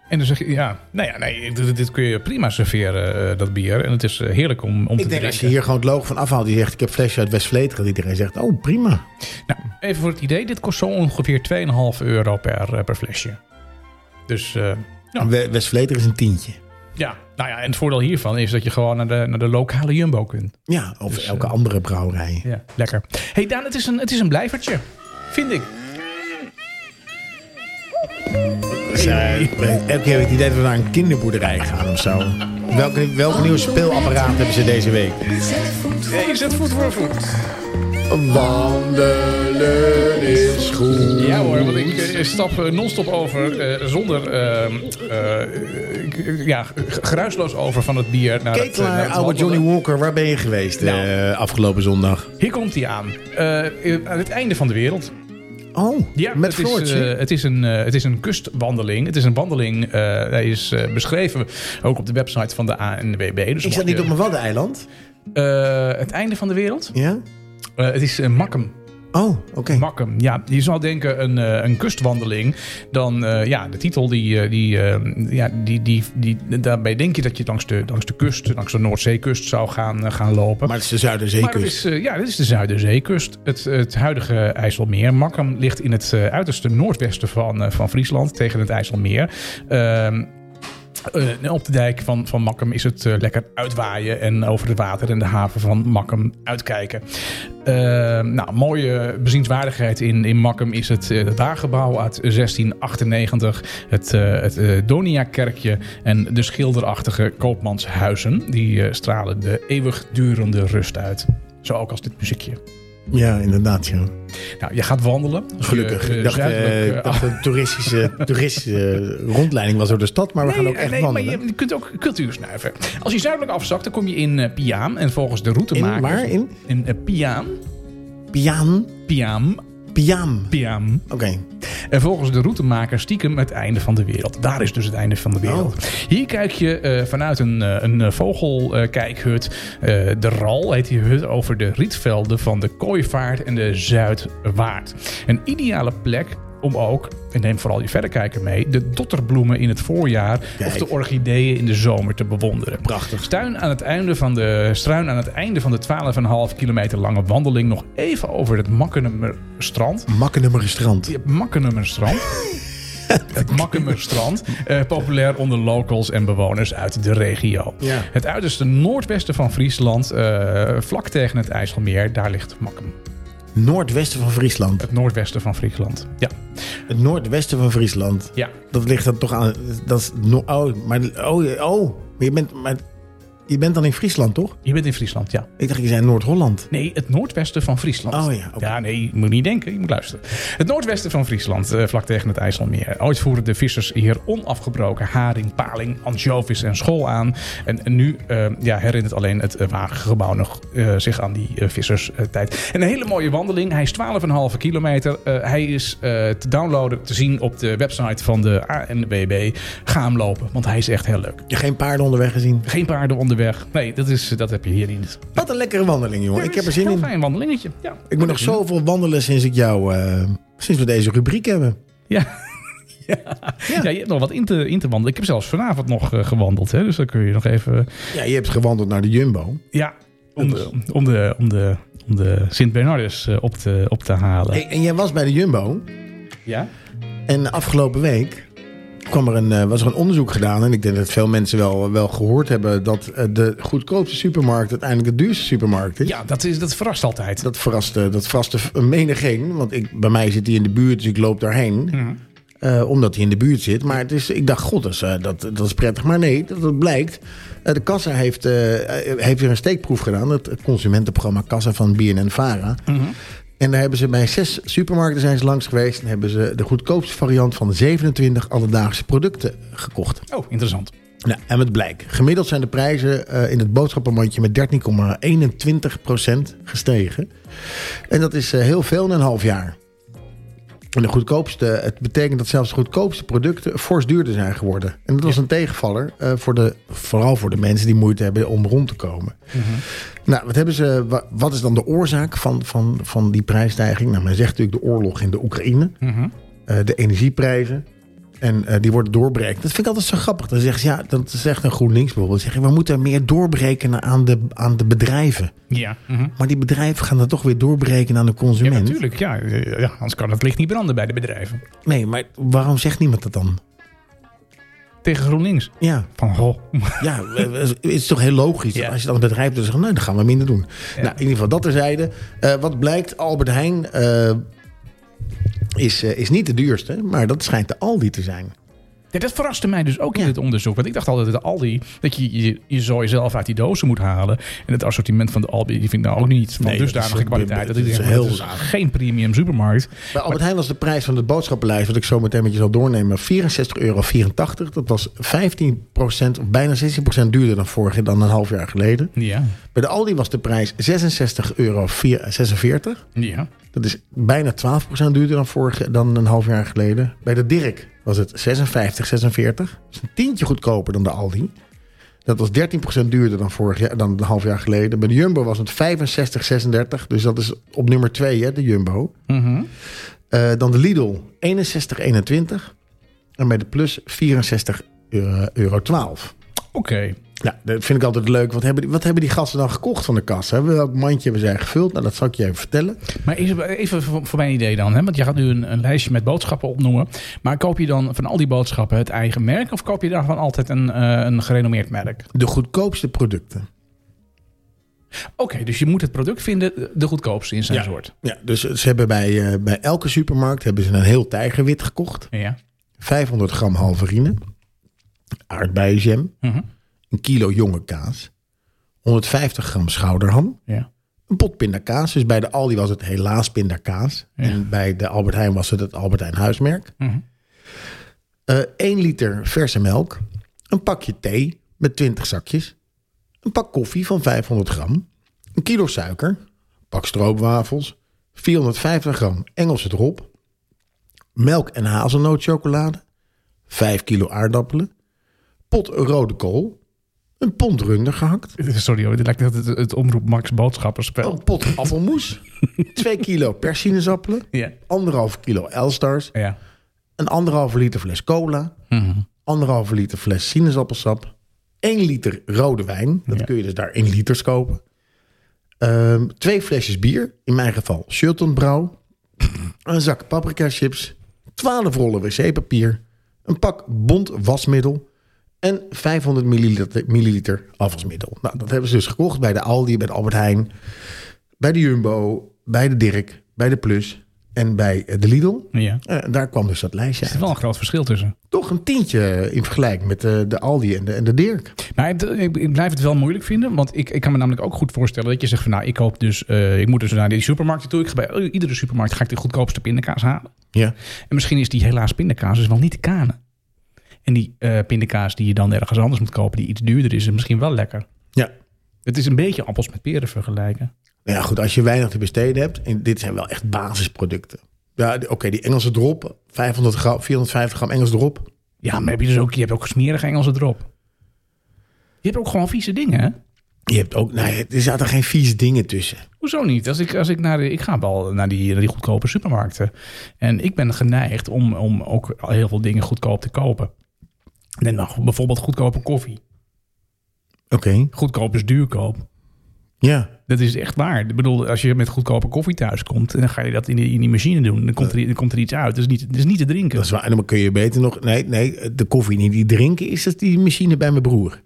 Speaker 1: En dan zeg je, ja, nou ja, nee, dit, dit kun je prima serveren, eh, dat bier. En het is eh, heerlijk om, om te
Speaker 2: Ik denk als je
Speaker 1: drinken.
Speaker 2: hier gewoon het logo van afhaalt. Die zegt ik heb flesje uit West-Vleteren. dat Iedereen zegt oh prima.
Speaker 1: Nou, even voor het idee, dit kost zo ongeveer 2,5 euro per, eh, per flesje. Dus eh, Ja.
Speaker 2: We- West-Vleteren is een tientje.
Speaker 1: ja, nou ja, en het voordeel hiervan is dat je gewoon naar de, naar de lokale Jumbo kunt.
Speaker 2: Ja, of
Speaker 1: Dus,
Speaker 2: elke
Speaker 1: eh,
Speaker 2: andere brouwerij.
Speaker 1: Ja, lekker. hey Daan, het is, een, het is een blijvertje, vind ik.
Speaker 2: Zij- Elke keer heb ik het idee dat we naar een kinderboerderij gaan of zo. Welke, welke nieuwe speelapparaat hebben ze deze week?
Speaker 1: Nee, is het voet voor voet?
Speaker 2: Wandelen is goed.
Speaker 1: Ja hoor, want ik eh, stap eh, non-stop over, eh, zonder, eh, eh, ik- ik- ja, g- geruisloos over van het bier naar het, eh, naar
Speaker 2: Ketelaar,
Speaker 1: het
Speaker 2: oude
Speaker 1: wandelen.
Speaker 2: Johnny Walker, waar ben je geweest eh, afgelopen zondag?
Speaker 1: Hier komt hij aan. Eh, eh, aan het einde van de wereld.
Speaker 2: Oh, met
Speaker 1: het is,
Speaker 2: Floortje.
Speaker 1: eh, het, is een, eh, het is een kustwandeling. Het is een wandeling. eh hij is eh, beschreven ook op de website van de ANWB. Dus
Speaker 2: ik zat
Speaker 1: mocht
Speaker 2: niet
Speaker 1: je-
Speaker 2: op mijn Waddeneiland.
Speaker 1: Eh, het einde van de wereld?
Speaker 2: Ja?
Speaker 1: Eh, het is eh, Makkum.
Speaker 2: Oh, oké.
Speaker 1: Makkum, ja. Je zou denken een, eh, een kustwandeling. Dan, eh, ja, de titel, die, eh, die, eh, ja, die, die, die, daarbij denk je dat je langs de, langs de kust, langs de Noordzeekust zou gaan, eh, gaan lopen.
Speaker 2: Maar het is de Zuiderzeekust.
Speaker 1: Maar het is, eh, ja, dit is de Zuiderzeekust. Het, het huidige IJsselmeer. Makkum ligt in het eh, uiterste noordwesten van, eh, van Friesland tegen het IJsselmeer. Ehm, eh, op de dijk van, van Makkum is het eh, lekker uitwaaien en over het water en de haven van Makkum uitkijken. Eh, nou, mooie bezienswaardigheid in, in Makkum is het eh, het Daargebouw uit 1698, het, eh het eh, Donia-kerkje en de schilderachtige koopmanshuizen. Die eh, stralen de eeuwigdurende rust uit. Zo ook als dit muziekje.
Speaker 2: Ja, inderdaad, ja.
Speaker 1: Nou, je gaat wandelen.
Speaker 2: Gelukkig.
Speaker 1: Je, eh,
Speaker 2: ik dacht, eh,
Speaker 1: zuidelijk,
Speaker 2: ik
Speaker 1: eh,
Speaker 2: dacht een toeristische, toeristische rondleiding was door de stad, maar we gaan ook echt
Speaker 1: nee,
Speaker 2: wandelen.
Speaker 1: maar je, je kunt ook cultuur snuiven. Als je zuidelijk afzakt, dan kom je in eh, Piaan. En volgens de routemaker...
Speaker 2: In waar? In?
Speaker 1: In eh, Piaan.
Speaker 2: Piaan.
Speaker 1: Piaan.
Speaker 2: Piaam.
Speaker 1: Piaan.
Speaker 2: Oké.
Speaker 1: En volgens de routemaker stiekem het einde van de wereld. Daar is dus het einde van de wereld.
Speaker 2: Oh.
Speaker 1: Hier kijk je eh, vanuit een, eh, een eh, vogelkijkhut. eh, de Ral heet die hut over de rietvelden van de Kooivaart en de Zuidwaard. Een ideale plek om ook, en neem vooral je verrekijker mee, de dotterbloemen in het voorjaar of
Speaker 2: Kijk.
Speaker 1: de orchideeën in de zomer te bewonderen.
Speaker 2: Prachtig.
Speaker 1: Stuin aan het einde van de, struin aan het einde van de 12,5 kilometer lange wandeling nog even over het Makkenemerstrand.
Speaker 2: Makkenummer strand.
Speaker 1: Je hebt Makkenumerstrand. Het Makkenumerstrand, eh, populair onder locals en bewoners uit de regio.
Speaker 2: Ja.
Speaker 1: Het uiterste noordwesten van Friesland, eh, vlak tegen het IJsselmeer, daar ligt Makkum.
Speaker 2: Noordwesten van Friesland.
Speaker 1: Het noordwesten van Friesland. Ja,
Speaker 2: Het noordwesten van Friesland.
Speaker 1: ja.
Speaker 2: Dat ligt dan toch aan. Dat is no- oh, maar, oh, je- oh maar je, bent, maar je bent dan in Friesland, toch?
Speaker 1: je bent in Friesland, ja.
Speaker 2: Ik dacht, je zei Noord-Holland.
Speaker 1: Nee, het noordwesten van Friesland.
Speaker 2: Oh ja, oké.
Speaker 1: Ja, nee, je moet niet denken, je moet luisteren. Het noordwesten van Friesland, eh, vlak tegen het IJsselmeer. Ooit voeren de vissers hier onafgebroken haring, paling, ansjovis en school aan. En, en nu eh, ja, herinnert alleen het eh, wagengebouw nog eh, zich aan die eh, visserstijd. En een hele mooie wandeling. Hij is 12,5 kilometer. Eh, hij is eh, te downloaden, te zien op de website van de ANWB. Ga hem lopen, want hij is echt heel leuk.
Speaker 2: Je hebt geen paarden onderweg gezien.
Speaker 1: Geen paarden onderweg. Nee, dat, is, dat heb je hier niet. Dus
Speaker 2: Wat een lekkere wandeling, jongen. Oh, Ik heb er zin
Speaker 1: Heel
Speaker 2: in.
Speaker 1: fijn wandelingetje. Ja.
Speaker 2: Ik moet nog zoveel wandelen sinds ik jou. eh, sinds we deze rubriek hebben.
Speaker 1: Ja. Ja. ja, je hebt nog wat in te, in te wandelen. Ik heb zelfs vanavond nog eh, gewandeld. Hè? Dus dan kun je nog even...
Speaker 2: Ja, je hebt gewandeld naar de Jumbo.
Speaker 1: Ja, om de, om de, om de, om de Sint-Bernardus eh, op te, op te halen.
Speaker 2: Hey, en jij was bij de Jumbo.
Speaker 1: Ja?
Speaker 2: En afgelopen week kwam er een, eh, was er een onderzoek gedaan. En ik denk dat veel mensen wel, wel gehoord hebben dat eh, de goedkoopste supermarkt uiteindelijk de duurste supermarkt is.
Speaker 1: Ja, dat, is, dat verrast altijd.
Speaker 2: Dat verraste, dat verraste menigeen. Want ik, bij mij zit die in de buurt, dus ik loop daarheen. Eh, omdat hij in de buurt zit. Maar het is, ik dacht, god, dat is, eh, dat, dat is prettig. Maar nee, dat, dat blijkt. Eh, de Kassa heeft, eh, eh, heeft weer een steekproef gedaan. Het consumentenprogramma Kassa van BNN-Vara. En daar hebben ze bij zes supermarkten zijn ze langs geweest. En hebben ze de goedkoopste variant van 27 alledaagse producten gekocht.
Speaker 1: Oh, interessant.
Speaker 2: Nou, en het blijkt. Gemiddeld zijn de prijzen eh, in het boodschappenmandje met 13,21% gestegen. En dat is eh, heel veel in een half jaar. En de goedkoopste, het betekent dat zelfs de goedkoopste producten fors duurder zijn geworden. En dat was een tegenvaller, eh, voor de, vooral voor de mensen die moeite hebben om rond te komen. Nou, wat, hebben ze, wa- wat is dan de oorzaak van, van, van die prijsstijging? Nou, men zegt natuurlijk de oorlog in de Oekraïne eh, de energieprijzen. En eh, die worden doorbreekt. Dat vind ik altijd zo grappig. Dan zeggen ze, ja, dat zegt een GroenLinks bijvoorbeeld. Zeggen, we moeten meer doorbreken aan de, aan de bedrijven.
Speaker 1: Ja, mhm.
Speaker 2: Maar die bedrijven gaan dat toch weer doorbreken aan de
Speaker 1: ja
Speaker 2: consument.
Speaker 1: natuurlijk. Ja, eh, ja, anders kan het licht niet branden bij de bedrijven.
Speaker 2: Nee, maar waarom zegt niemand dat dan?
Speaker 1: Tegen GroenLinks.
Speaker 2: Ja,
Speaker 1: Van, goh.
Speaker 2: ja eh, het is toch heel logisch.
Speaker 1: Ja.
Speaker 2: Als je dan een bedrijf doet, dan zeggen, nee, dan gaan we minder doen. Nou, in ieder geval dat terzijde. Eh wat blijkt, Albert Heijn eh, is, eh, is niet de duurste. Maar dat schijnt de Aldi te zijn.
Speaker 1: Ja, dat verraste mij dus ook in
Speaker 2: Ja.
Speaker 1: dit onderzoek. Want ik dacht altijd dat de Aldi, dat je, je, je zo jezelf uit die dozen moet halen. En het assortiment van de Aldi, die vind ik nou ook niet van
Speaker 2: Nee, dat
Speaker 1: dusdanige
Speaker 2: is-
Speaker 1: kwaliteit. Dat,
Speaker 2: dat
Speaker 1: ik
Speaker 2: is
Speaker 1: denk,
Speaker 2: heel
Speaker 1: dat is
Speaker 2: raar.
Speaker 1: geen premium supermarkt.
Speaker 2: Bij Albert Heijn was de prijs van de boodschappenlijst, wat ik zo meteen met je zal doornemen, 64,84 euro. Dat was 15% of bijna 16% duurder dan vorig jaar, dan een half jaar geleden.
Speaker 1: Ja,
Speaker 2: Bij de Aldi was de prijs 66,46 euro.
Speaker 1: ja.
Speaker 2: Dat is bijna 12% duurder dan, vorig, dan een half jaar geleden. Bij de Dirk was het 56, 46. Dat is een tientje goedkoper dan de Aldi. Dat was 13% duurder dan, vorig jaar, dan een half jaar geleden. Bij de Jumbo was het 65, 36. Dus dat is op nummer 2, hè, de Jumbo. Eh, dan de Lidl 61, 21. En bij de Plus 64 euro, euro 12.
Speaker 1: Oké.
Speaker 2: Nou, dat vind ik altijd leuk. Wat hebben, die, wat hebben die gasten dan gekocht van de kassa? Hebben- Welk mandje hebben zij gevuld? Nou, dat zal ik je even vertellen.
Speaker 1: Maar is er- even voor, voor mijn idee dan, hè? want je gaat nu een, een lijstje met boodschappen opnoemen. Maar koop je dan van al die boodschappen het eigen merk? Of koop je daarvan altijd een, eh, een gerenommeerd merk?
Speaker 2: De goedkoopste producten.
Speaker 1: Oké, dus je moet het product vinden de goedkoopste in zijn soort.
Speaker 2: Ja, dus ze hebben bij, eh, bij elke supermarkt hebben ze een heel tijgerwit gekocht.
Speaker 1: Ja.
Speaker 2: 500 gram halverine, aardbeienjam,
Speaker 1: Mhm.
Speaker 2: een kilo jonge kaas, 150 gram schouderham,
Speaker 1: ja.
Speaker 2: een pot pindakaas. Dus bij de Aldi was het helaas pindakaas. En bij de Albert Heijn was het het Albert Heijn huismerk.
Speaker 1: Mhm.
Speaker 2: 1 liter verse melk, een pakje thee met 20 zakjes, een pak koffie van 500 gram, een kilo suiker, een pak stroopwafels, 450 gram Engelse drop, melk en hazelnootchocolade, 5 kilo aardappelen, pot rode kool, een pond runder gehakt,
Speaker 1: Sorry hoor, dit lijkt net het, het omroep Max boodschapperspel.
Speaker 2: een pot appelmoes, 2 kilo persinezappelen,
Speaker 1: Ja.
Speaker 2: anderhalf kilo Elstars,
Speaker 1: Ja.
Speaker 2: een anderhalve liter fles cola, anderhalve liter fles sinaasappelsap, 1 liter rode wijn. Dat
Speaker 1: Ja.
Speaker 2: kun je dus daar in liters kopen. Ehm, twee flesjes bier, in mijn geval Shultonbrouw, een zak paprika chips, 12 rollen wc-papier, een pak bont wasmiddel en 500 milliliter, milliliter afwasmiddel. Nou, dat hebben ze dus gekocht bij de Aldi, bij de Albert Heijn, bij de Jumbo, bij de Dirk, bij de Plus en bij eh, de Lidl.
Speaker 1: ja. Er
Speaker 2: Eh, daar kwam dus dat lijstje uit
Speaker 1: zit wel een groot verschil tussen.
Speaker 2: toch een tientje in vergelijking met de, de Aldi en de, en de Dirk.
Speaker 1: Maar het- ik, ik blijf het wel moeilijk vinden. Want ik, ik kan me namelijk ook goed voorstellen dat je zegt van nou, ik koop dus, eh, ik moet dus naar die supermarkt toe. Ik ga bij iedere supermarkt ga ik de goedkoopste pindakaas halen.
Speaker 2: Ja.
Speaker 1: En misschien is die helaas pindakaas dus wel niet te kanen. En die eh, pindakaas die je dan ergens anders moet kopen, die iets duurder is, is misschien wel lekker.
Speaker 2: Ja.
Speaker 1: Het is een beetje appels met peren vergelijken.
Speaker 2: Nou ja, goed, als je weinig te besteden hebt, en dit zijn wel echt basisproducten. Ja, die- oké, die Engelse drop, 500 gram, 450 gram Engels drop.
Speaker 1: Ja, maar heb je, dus ook, je hebt ook smerige Engelse drop. Je hebt ook gewoon vieze dingen, hè?
Speaker 2: Je hebt ook, nou, ja, er zaten geen vieze dingen tussen.
Speaker 1: Hoezo niet? Als ik, als ik, naar de, ik ga wel naar die, naar die goedkope supermarkten. En ik ben geneigd om, om ook heel veel dingen goedkoop te kopen. En dan bijvoorbeeld goedkope koffie.
Speaker 2: Oké,
Speaker 1: Goedkoop is duurkoop.
Speaker 2: ja.
Speaker 1: Dat is echt waar. Ik bedoel, als je met goedkope koffie thuis komt, dan ga je dat in die, in die machine doen. Dan komt er, dan komt er iets uit. Het is niet, het is niet te drinken.
Speaker 2: Dat is waar. En dan kun je beter nog... Nee, nee, de koffie niet die drinken is dat die machine bij mijn broer.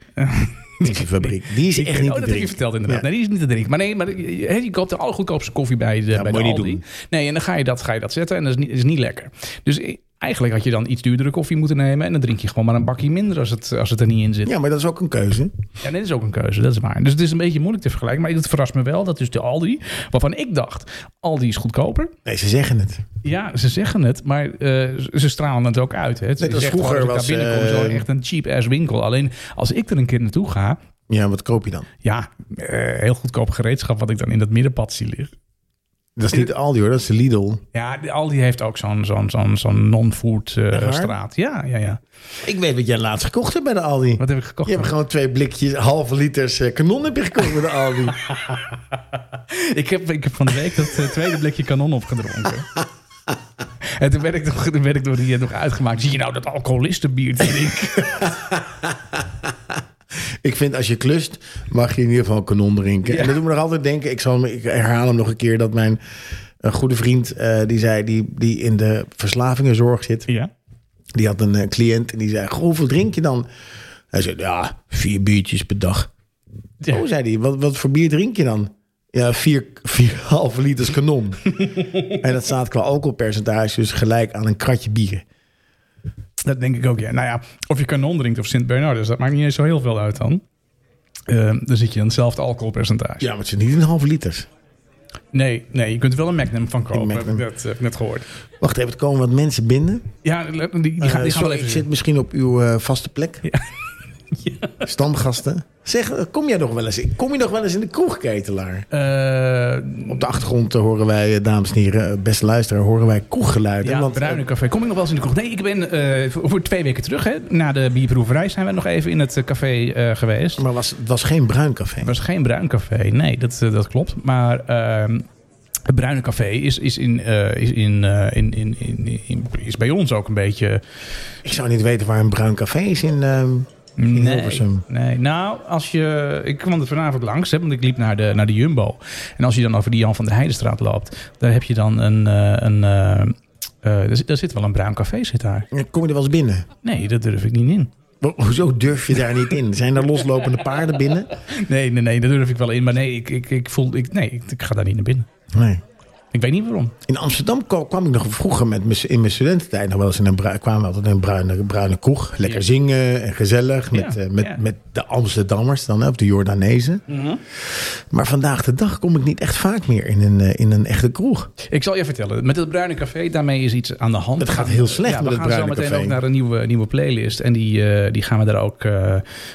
Speaker 2: Die is een fabriek. Die is echt niet
Speaker 1: oh, dat heb
Speaker 2: te
Speaker 1: je
Speaker 2: drinken.
Speaker 1: verteld inderdaad.
Speaker 2: Ja.
Speaker 1: Nee, die is niet te drinken. Maar nee, maar je, hè, je koopt de allergoedkoopste koffie bij de, bij de
Speaker 2: moet je niet
Speaker 1: Aldi.
Speaker 2: doen.
Speaker 1: Nee, en dan ga je dat, ga je dat zetten en dat is niet, is niet lekker. Dus eh, Eigenlijk had je dan iets duurdere koffie moeten nemen. En dan drink je gewoon maar een bakje minder als het, als het er niet in zit.
Speaker 2: Ja, maar dat is ook een keuze.
Speaker 1: En dit is ook een keuze, dat is waar. Dus het is een beetje moeilijk te vergelijken. Maar het verrast me wel dat dus de Aldi, waarvan ik dacht, Aldi is goedkoper.
Speaker 2: Nee, ze zeggen het.
Speaker 1: Ja, ze zeggen het, maar eh, ze stralen het ook uit. Hè. Ze
Speaker 2: Net als
Speaker 1: zeggen
Speaker 2: vroeger
Speaker 1: gewoon, als ik
Speaker 2: was,
Speaker 1: daar binnenkom, zo
Speaker 2: eh,
Speaker 1: echt een cheap-ass winkel. Alleen als ik er een keer naartoe ga,
Speaker 2: Ja, wat koop je dan?
Speaker 1: ja, eh, heel goedkoop gereedschap wat ik dan in dat middenpad zie liggen.
Speaker 2: Dat is niet de Aldi hoor, dat is de Lidl.
Speaker 1: Ja, de Aldi heeft ook zo'n zo'n zo'n zo'n non-food eh,
Speaker 2: Echt waar?
Speaker 1: straat. Ja, ja, ja.
Speaker 2: Ik weet wat jij laatst gekocht hebt bij de Aldi.
Speaker 1: Wat heb ik gekocht?
Speaker 2: Je hebt gewoon twee blikjes, halve liters eh, kanon heb je gekocht bij de Aldi.
Speaker 1: Ik heb, ik heb van de week dat eh, tweede blikje kanon opgedronken. En toen werd ik, nog, toen werd ik door die eh, nog uitgemaakt. Zie je nou dat alcoholistenbier te drinken?
Speaker 2: ik vind als je klust, mag je in ieder geval kanon drinken. En dat doet me nog altijd denken, ik, zal, hem- ik herhaal hem nog een keer, dat mijn een goede vriend, eh, die zei, die, die in de verslavingenzorg zit,
Speaker 1: Ja.
Speaker 2: die had een eh, cliënt en die zei, "Goh, hoeveel drink je dan? Hij zei, ja, vier biertjes per dag.
Speaker 1: Ja.
Speaker 2: Oh, zei hij, wat, wat voor bier drink je dan? Ja, vier, vier halve liters kanon. en dat staat qua alcoholpercentage dus gelijk aan een kratje bier.
Speaker 1: Dat denk ik ook, ja. Nou ja, of je kanon drinkt of Sint-Bernardus, dat maakt niet eens zo heel veel uit dan. Eh, dan zit je aan hetzelfde alcoholpercentage.
Speaker 2: Ja, maar het is niet een halve liters.
Speaker 1: Nee, nee, je kunt er wel een Magnum van kopen.
Speaker 2: Een Magnum.
Speaker 1: Dat eh, heb ik net gehoord.
Speaker 2: Wacht even, er komen wat mensen binnen.
Speaker 1: Ja, die, die, gaan,
Speaker 2: Eh,
Speaker 1: Eh, die gaan wel
Speaker 2: sorry,
Speaker 1: even zitten.
Speaker 2: ik zit misschien op uw eh, vaste plek. Stamgasten. Zeg, eh, kom jij nog wel eens, kom je nog wel eens in de kroeg, ketelaar?
Speaker 1: Eh,
Speaker 2: Op de achtergrond eh, horen wij, eh, dames en heren, eh, beste luisteraar, horen wij kroeggeluiden.
Speaker 1: Ja,
Speaker 2: want, eh,
Speaker 1: Bruine Café. Kom ik nog wel eens in de kroeg? Nee, ik ben eh, voor voor twee weken terug. Hè, na de bierproeverij zijn we nog even in het eh, café eh, geweest.
Speaker 2: maar was, het was geen bruin café.
Speaker 1: Het was geen Bruin Café. Nee, dat, eh, dat klopt. Maar ehm, het Bruine Café is, is, in, eh, is, in, eh, in, in, in, in- is bij ons ook een beetje...
Speaker 2: Ik zou niet weten waar een bruin café is in, ehm, in Hilversum.
Speaker 1: nee. Nou, als je... Ik kwam er vanavond langs, hè, want ik liep naar de, naar de Jumbo. En als je dan over die Jan van der Heidenstraat loopt... daar heb je dan een... eh, een eh, eh, daar, zit, daar zit wel een Bruin Café, zit daar.
Speaker 2: Ja, Eh, Kom je er wel eens binnen?
Speaker 1: Nee, dat durf ik niet in.
Speaker 2: Ho- Hoezo durf je daar niet in? Zijn er loslopende paarden binnen?
Speaker 1: Nee, nee, nee, dat durf ik wel in. Maar nee, ik, ik, ik voel. Ik, nee, ik, ik ga daar niet naar binnen.
Speaker 2: Nee.
Speaker 1: Ik weet niet waarom.
Speaker 2: In Amsterdam ko- kwam ik nog vroeger met mijn- in mijn studententijd nog wel eens in een bruin, kwamen we altijd in een bruine, bruine kroeg. Lekker
Speaker 1: Ja.
Speaker 2: zingen en gezellig met,
Speaker 1: Ja,
Speaker 2: eh, met,
Speaker 1: ja. Mhm.
Speaker 2: met de Amsterdammers dan, hè, of de Jordanezen. Maar vandaag de dag kom ik niet echt vaak meer in een, eh, in een echte kroeg.
Speaker 1: Ik zal je vertellen. Met het Bruine Café, daarmee is iets aan de hand.
Speaker 2: Het gaat heel slecht
Speaker 1: ja,
Speaker 2: met
Speaker 1: we
Speaker 2: het
Speaker 1: gaan zo
Speaker 2: Bruine
Speaker 1: meteen
Speaker 2: Café.
Speaker 1: ook naar een nieuwe, nieuwe playlist. En die, eh, die gaan we daar ook. eh,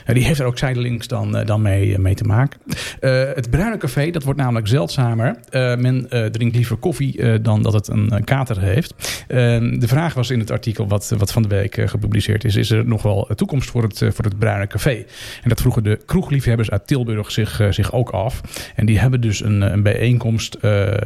Speaker 1: ja, die heeft er ook zijdelings dan, eh, dan mee, eh, mee te maken. Eh, het Bruine Café, dat wordt namelijk zeldzamer. Eh, men eh, drinkt liever koffie eh, dan dat het een eh, kater heeft. Eh, de vraag was in het artikel wat, wat van de week eh, gepubliceerd is: is er nog wel eh, toekomst voor het, eh, voor het Bruine Café? En dat vroegen de kroegliefhebbers uit Tilburg zich, eh, zich ook af. En die hebben dus een, eh, een bijeenkomst eh,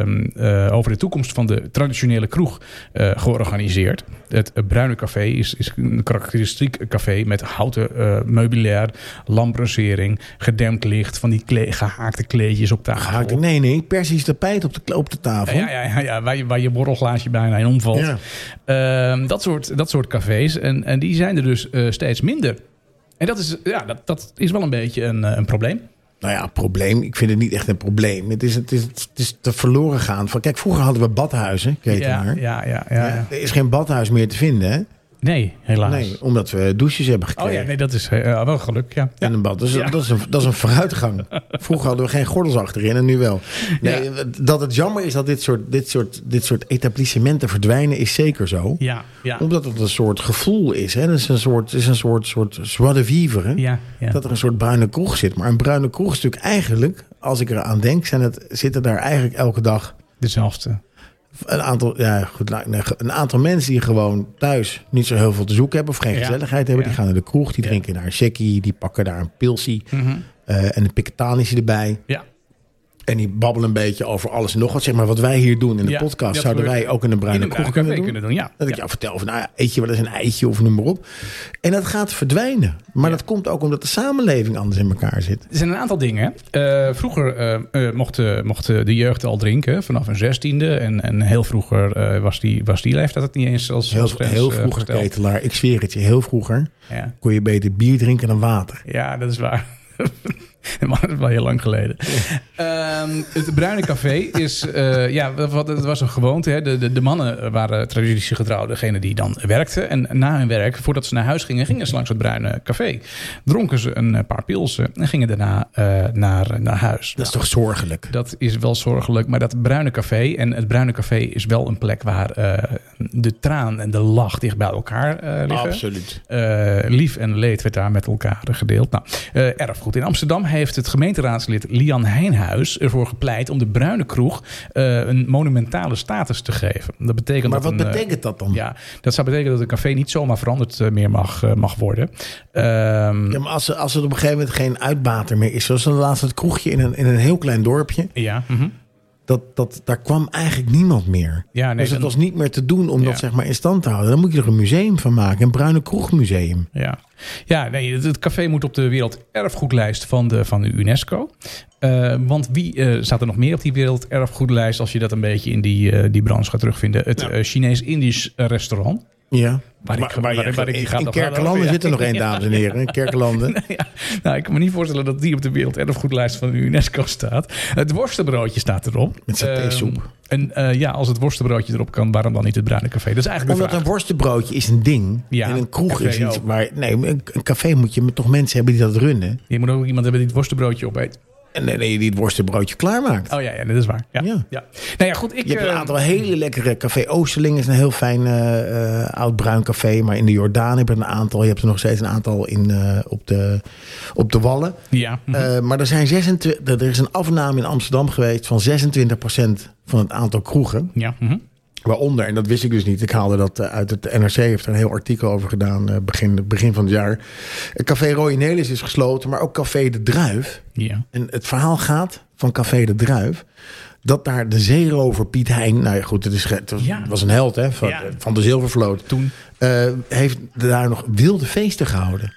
Speaker 1: eh, over de toekomst van de traditionele kroeg eh, georganiseerd. Het eh, Bruine Café is, is een karakteristiek café met houten eh, meubilair, lambrosering, gedempt licht, van die kle- gehaakte kleedjes op tafel.
Speaker 2: Gehaakt, nee, nee, persisch tapijt op de, kla- op de tafel.
Speaker 1: Oh. Ja, ja, ja, ja waar, je, waar je borrelglaasje bijna in omvalt.
Speaker 2: Ja.
Speaker 1: Ehm, dat, soort, dat soort cafés. En, en die zijn er dus eh, steeds minder. En dat is, ja, dat, dat is wel een beetje een, eh, een probleem.
Speaker 2: Nou ja, probleem. Ik vind het niet echt een probleem. Het is, het is, het is te verloren gaan. Van, kijk, vroeger hadden we badhuizen,
Speaker 1: Ja,
Speaker 2: ketelaar.
Speaker 1: ja, ja, ja, ja.
Speaker 2: Er is geen badhuis meer te vinden, hè?
Speaker 1: Nee, helaas.
Speaker 2: Nee, omdat we douches hebben
Speaker 1: Oh
Speaker 2: gekregen.
Speaker 1: ja, nee, dat is eh, wel geluk. Ja. Ja.
Speaker 2: En een bad. Dus
Speaker 1: Ja.
Speaker 2: dat, is een, dat is een vooruitgang. Vroeger hadden we geen gordels achterin en nu wel. Nee, Dat het jammer is dat dit soort, dit, soort, dit soort etablissementen verdwijnen, is zeker zo.
Speaker 1: Ja, ja.
Speaker 2: Omdat het een soort gevoel is. Hè? Het is een soort, het is een soort, soort joie de vivre. hè.
Speaker 1: Ja, ja.
Speaker 2: Dat er een soort bruine kroeg zit. Maar een bruine kroeg is natuurlijk eigenlijk, als ik eraan denk, zijn het, zitten daar eigenlijk elke dag
Speaker 1: Dezelfde.
Speaker 2: een aantal, ja, goed, nou, nee, een aantal mensen die gewoon thuis niet zo heel veel te zoeken hebben of geen
Speaker 1: Ja.
Speaker 2: gezelligheid hebben. Die
Speaker 1: Ja. Mhm.
Speaker 2: gaan naar de kroeg, die drinken daar een checkie, die pakken daar een pilsie eh, en een piketanisje erbij.
Speaker 1: Ja.
Speaker 2: En die babbelen een beetje over alles en nog wat. Zeg maar wat wij hier doen in de
Speaker 1: Ja,
Speaker 2: podcast,
Speaker 1: dat
Speaker 2: zouden
Speaker 1: gebeurt
Speaker 2: wij ook in de
Speaker 1: In
Speaker 2: bruine
Speaker 1: een
Speaker 2: kroeg
Speaker 1: bruine
Speaker 2: kunnen
Speaker 1: café
Speaker 2: doen.
Speaker 1: kunnen doen, ja.
Speaker 2: Dat ik
Speaker 1: Ja.
Speaker 2: jou vertel van, nou ja, eet je wel eens een eitje of noem maar op. En dat gaat verdwijnen. Maar dat komt ook omdat de samenleving anders in elkaar zit.
Speaker 1: Er zijn een aantal dingen. hè. Eh, vroeger eh, eh, mocht, eh, mocht eh, de jeugd al drinken, vanaf een zestiende. En, en heel vroeger eh, was, die, was die leeftijd het niet eens als
Speaker 2: Heel,
Speaker 1: als grens,
Speaker 2: heel
Speaker 1: eh,
Speaker 2: vroeger,
Speaker 1: gesteld.
Speaker 2: ketelaar, ik zweer het je, heel vroeger
Speaker 1: Ja.
Speaker 2: kon je beter bier drinken dan water.
Speaker 1: ja, dat is waar. maar dat is wel heel lang geleden. Ehm, het Bruine Café is, eh, ja, wat- wat, het was een gewoonte. Hè. De, de, de mannen waren traditie getrouw degene die dan werkte. En na hun werk, voordat ze naar huis gingen, gingen ze langs het Bruine Café. Dronken ze een eh, paar pilsen en gingen daarna eh, naar, naar huis.
Speaker 2: Dat is toch zorgelijk?
Speaker 1: Dat is wel zorgelijk, maar dat Bruine Café... en het Bruine Café is wel een plek waar eh, de traan en de lach dicht bij elkaar eh, liggen.
Speaker 2: Absoluut.
Speaker 1: Eh, lief en leed werd daar met elkaar gedeeld. Nou, eh, erfgoed. In Amsterdam heeft het gemeenteraadslid Lian Heinhuis ervoor gepleit om de Bruine Kroeg eh, een monumentale status te geven. Dat betekent
Speaker 2: Maar
Speaker 1: dat
Speaker 2: wat
Speaker 1: een, eh,
Speaker 2: betekent dat dan?
Speaker 1: ja, dat zou betekenen dat een café niet zomaar veranderd eh, meer mag, eh, mag worden. Ehm,
Speaker 2: Ja, maar als, er- als er op een gegeven moment geen uitbater meer is. Zoals laatst het kroegje in een, in een heel klein dorpje.
Speaker 1: ja, mhm.
Speaker 2: Dat, dat, daar kwam eigenlijk niemand meer.
Speaker 1: Ja, nee,
Speaker 2: dus het
Speaker 1: dan-
Speaker 2: was niet meer te doen om
Speaker 1: Ja.
Speaker 2: dat zeg maar in stand te houden. Dan moet je er een museum van maken. Een bruine kroegmuseum.
Speaker 1: Ja, ja nee, het, het café moet op de werelderfgoedlijst van de, van de UNESCO. Eh, want wie eh, staat er nog meer op die werelderfgoedlijst... als je dat een beetje in die, eh, die branche gaat terugvinden? Het eh, Chinees-Indisch eh, restaurant.
Speaker 2: Ja.
Speaker 1: Waar ik- waar- waar ik die
Speaker 2: in,
Speaker 1: gaat
Speaker 2: in
Speaker 1: nog wel
Speaker 2: Kerkelanden
Speaker 1: over, ja.
Speaker 2: zit er nog één, dames en heren. In Kerkelanden.
Speaker 1: ja, nou, ik kan me niet voorstellen dat die op de werelderfgoedlijst van de UNESCO staat. Het worstenbroodje staat erop.
Speaker 2: Met satésoep.
Speaker 1: Ehm, en eh, ja, als het worstenbroodje erop kan, waarom dan niet het bruine café? Dat is eigenlijk de
Speaker 2: Omdat
Speaker 1: vraag.
Speaker 2: een worstenbroodje is een ding.
Speaker 1: Ja,
Speaker 2: en een kroeg
Speaker 1: café
Speaker 2: is iets.
Speaker 1: ook.
Speaker 2: Maar nee, een, een café moet je toch mensen hebben die dat runnen.
Speaker 1: Je moet ook iemand hebben die het worstenbroodje opeet.
Speaker 2: En nee, nee, die het worstenbroodje klaarmaakt.
Speaker 1: Oh ja, ja, dat is waar. Ja. Ja.
Speaker 2: Ja.
Speaker 1: Nou ja, goed. Ik,
Speaker 2: Je hebt een
Speaker 1: eh,
Speaker 2: aantal hele lekkere. Café Oosterling is een heel fijn eh, eh, oud bruin café. Maar in de Jordaan heb je er een aantal. Je hebt er nog steeds een aantal in, eh, op, de, op de Wallen.
Speaker 1: ja. Mhm.
Speaker 2: Eh, maar er, zijn 26, er is een afname in Amsterdam geweest van 26% van het aantal kroegen.
Speaker 1: ja. mhm.
Speaker 2: Waaronder, en dat wist ik dus niet. Ik haalde dat eh, uit het NRC, heeft er een heel artikel over gedaan eh, begin, begin van het jaar. Eh, Café Royanelis is gesloten, maar ook Café de Druif.
Speaker 1: ja.
Speaker 2: En het verhaal gaat van Café de Druif. Dat daar de zeerover Piet Hein. Nou ja, goed, het, is, ge- het was,
Speaker 1: Ja.
Speaker 2: was een held hè, van,
Speaker 1: Ja.
Speaker 2: van de Zilvervloot.
Speaker 1: Toen.
Speaker 2: eh, heeft daar nog wilde feesten gehouden.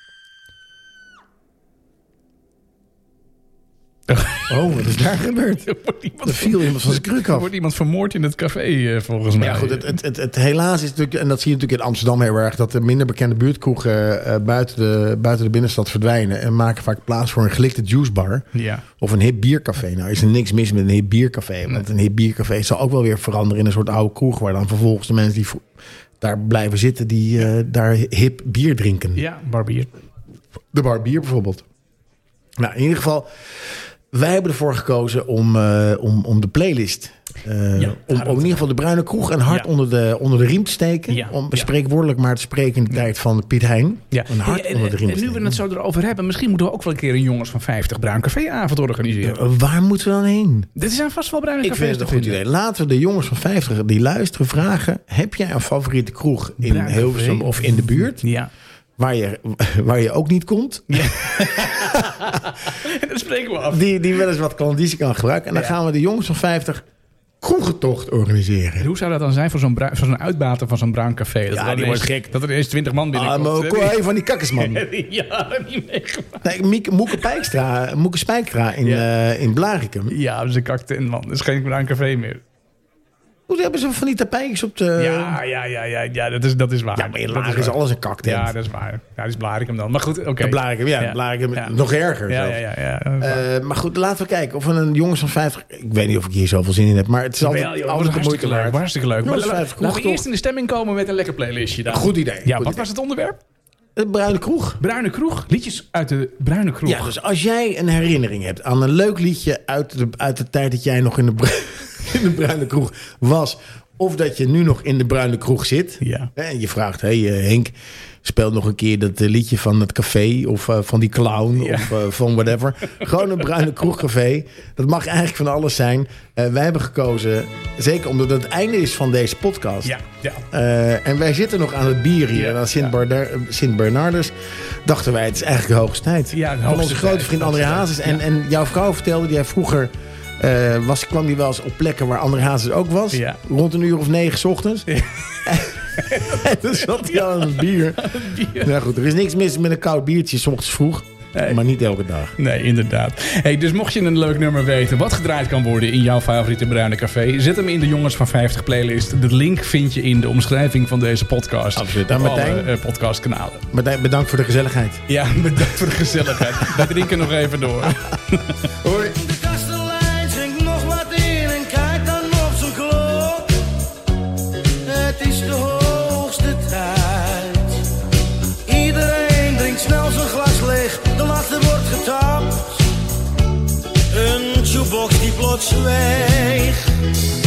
Speaker 2: Oh, wat is daar gebeurd?
Speaker 1: Er wordt iemand,
Speaker 2: Er viel iemand van zijn kruk
Speaker 1: er
Speaker 2: af.
Speaker 1: wordt iemand vermoord in het café, eh, volgens mij.
Speaker 2: Ja, goed. Het, het, het, het helaas is natuurlijk, en dat zie je natuurlijk in Amsterdam heel erg, dat de minder bekende buurtkroegen eh, buiten, de, buiten de binnenstad verdwijnen. En maken vaak plaats voor een gelikte juicebar.
Speaker 1: Ja.
Speaker 2: Of een hip biercafé. Nou, is er niks mis met een hip biercafé. Want een hip biercafé zal ook wel weer veranderen in een soort oude kroeg. Waar dan vervolgens de mensen die vo- daar blijven zitten, die eh, daar hip bier drinken.
Speaker 1: ja, barbier.
Speaker 2: De barbier bijvoorbeeld. Nou, in ieder geval, wij hebben ervoor gekozen om, eh, om, om de playlist. eh,
Speaker 1: Ja,
Speaker 2: om, om
Speaker 1: hard.
Speaker 2: in ieder geval de bruine kroeg en hard
Speaker 1: Ja.
Speaker 2: onder, de, onder de riem te steken.
Speaker 1: Ja,
Speaker 2: Om
Speaker 1: ja.
Speaker 2: spreekwoordelijk maar te spreken in de tijd van Piet Hein.
Speaker 1: Ja.
Speaker 2: Een hart
Speaker 1: En- en-
Speaker 2: onder de riem te
Speaker 1: en nu we
Speaker 2: steken.
Speaker 1: het zo erover hebben, misschien moeten we ook wel een keer een jongens van 50 bruin caféavond organiseren.
Speaker 2: Eh, Waar moeten we dan heen?
Speaker 1: Dit zijn vast wel bruine
Speaker 2: Ik
Speaker 1: cafés.
Speaker 2: vind het een
Speaker 1: te
Speaker 2: goed
Speaker 1: vinden.
Speaker 2: idee. Laten we de jongens van 50 die luisteren vragen... heb jij een favoriete kroeg in
Speaker 1: Bruin café.
Speaker 2: Hilversum of in de buurt...
Speaker 1: Ja.
Speaker 2: waar je, waar je ook niet komt...
Speaker 1: dat spreken we af.
Speaker 2: die, die wel eens wat klandizie kan gebruiken... en dan
Speaker 1: Ja.
Speaker 2: gaan we de jongens van 50 kroegentocht organiseren.
Speaker 1: Hoe zou dat dan zijn voor zo'n, bruin- voor zo'n uitbater van zo'n bruin café? Dat
Speaker 2: Ja,
Speaker 1: er
Speaker 2: die
Speaker 1: ineens-
Speaker 2: wordt gek.
Speaker 1: Dat er ineens 20 man
Speaker 2: Ah,
Speaker 1: binnenkomt.
Speaker 2: maar ook wel
Speaker 1: Heb
Speaker 2: even van die kakkers, man.
Speaker 1: je- ja, heb je meegemaakt?
Speaker 2: Nee, Mieke, Moeke, Pijkstra, Moeke Spijkstra in,
Speaker 1: Ja.
Speaker 2: eh, in Blarikum.
Speaker 1: Ja, ze kakte in, man. Dat is geen bruin café meer.
Speaker 2: Hoe hebben ze van die tapijtjes op de...
Speaker 1: ja, ja, ja, ja, ja, dat is, dat is waar.
Speaker 2: Eh. Ja, maar in
Speaker 1: dat
Speaker 2: Laren is
Speaker 1: waar.
Speaker 2: alles een kaktent.
Speaker 1: Ja, dat is waar. Ja, dat is Blarikum dan. Maar goed, oké.
Speaker 2: En Blarikum, ja,
Speaker 1: Ja.
Speaker 2: Blarikum,
Speaker 1: Ja.
Speaker 2: nog erger
Speaker 1: Ja,
Speaker 2: zelfs.
Speaker 1: ja, ja. ja, dat is waar.
Speaker 2: Eh, maar goed, laten we kijken of we een jongens van 50... Ik weet niet of ik hier zoveel zin in heb, maar het is altijd,
Speaker 1: Wel, joh,
Speaker 2: altijd de
Speaker 1: hartstikke
Speaker 2: moeite
Speaker 1: leuk.
Speaker 2: waard.
Speaker 1: Hartstikke leuk. Maar
Speaker 2: Jongens,
Speaker 1: la-
Speaker 2: vijf
Speaker 1: laten we
Speaker 2: kroeg,
Speaker 1: eerst in de stemming komen met een lekker playlistje dan.
Speaker 2: Goed idee.
Speaker 1: Ja,
Speaker 2: goed
Speaker 1: wat
Speaker 2: idee.
Speaker 1: was het onderwerp?
Speaker 2: De Bruine Kroeg.
Speaker 1: Bruine Kroeg. Liedjes uit de Bruine Kroeg.
Speaker 2: Ja, dus als jij een herinnering hebt aan een leuk liedje uit de, uit de tijd dat jij nog in de, bru- in de Bruine Kroeg was... of dat je nu nog in de Bruine Kroeg zit...
Speaker 1: Ja.
Speaker 2: En je vraagt, hé hey, eh, Henk, speel nog een keer dat eh, liedje van het café of eh, van die clown
Speaker 1: Ja.
Speaker 2: of eh, van whatever. Gewoon een bruine kroegcafé. Dat mag eigenlijk van alles zijn. Eh, wij hebben gekozen, zeker omdat het het einde is van deze podcast.
Speaker 1: Ja, ja.
Speaker 2: Eh, en wij zitten nog aan het bier hier,
Speaker 1: Ja,
Speaker 2: aan
Speaker 1: ja.
Speaker 2: Sint, Barda- Sint Bernardus. Dachten wij, het is eigenlijk de hoogste tijd.
Speaker 1: Ja, de
Speaker 2: Van
Speaker 1: hoogste
Speaker 2: onze grote
Speaker 1: tijd,
Speaker 2: vriend
Speaker 1: hoogste
Speaker 2: André
Speaker 1: tijd.
Speaker 2: Hazes. En, en jouw vrouw vertelde, die hij vroeger eh, was, kwam die wel eens op plekken waar André Hazes ook was.
Speaker 1: Ja.
Speaker 2: Rond een uur of negen 's ochtends. En toen zat hij al aan het bier. Nou goed, er is niks mis met een koud biertje, s ochtends vroeg.
Speaker 1: Nee.
Speaker 2: Maar niet elke dag.
Speaker 1: Nee, inderdaad. Hey, dus mocht je een leuk nummer weten wat gedraaid kan worden in jouw favoriete Bruine Café, zet hem in de Jongens van 50 playlist. De link vind je in de omschrijving van deze podcast.
Speaker 2: Absoluut. En
Speaker 1: Op alle
Speaker 2: Martijn?
Speaker 1: eh, podcastkanalen.
Speaker 2: Maar bedankt voor de gezelligheid.
Speaker 1: Ja, bedankt voor de gezelligheid. Wij drinken nog even door.
Speaker 2: Hoi.
Speaker 5: The castle lines
Speaker 6: plots weg.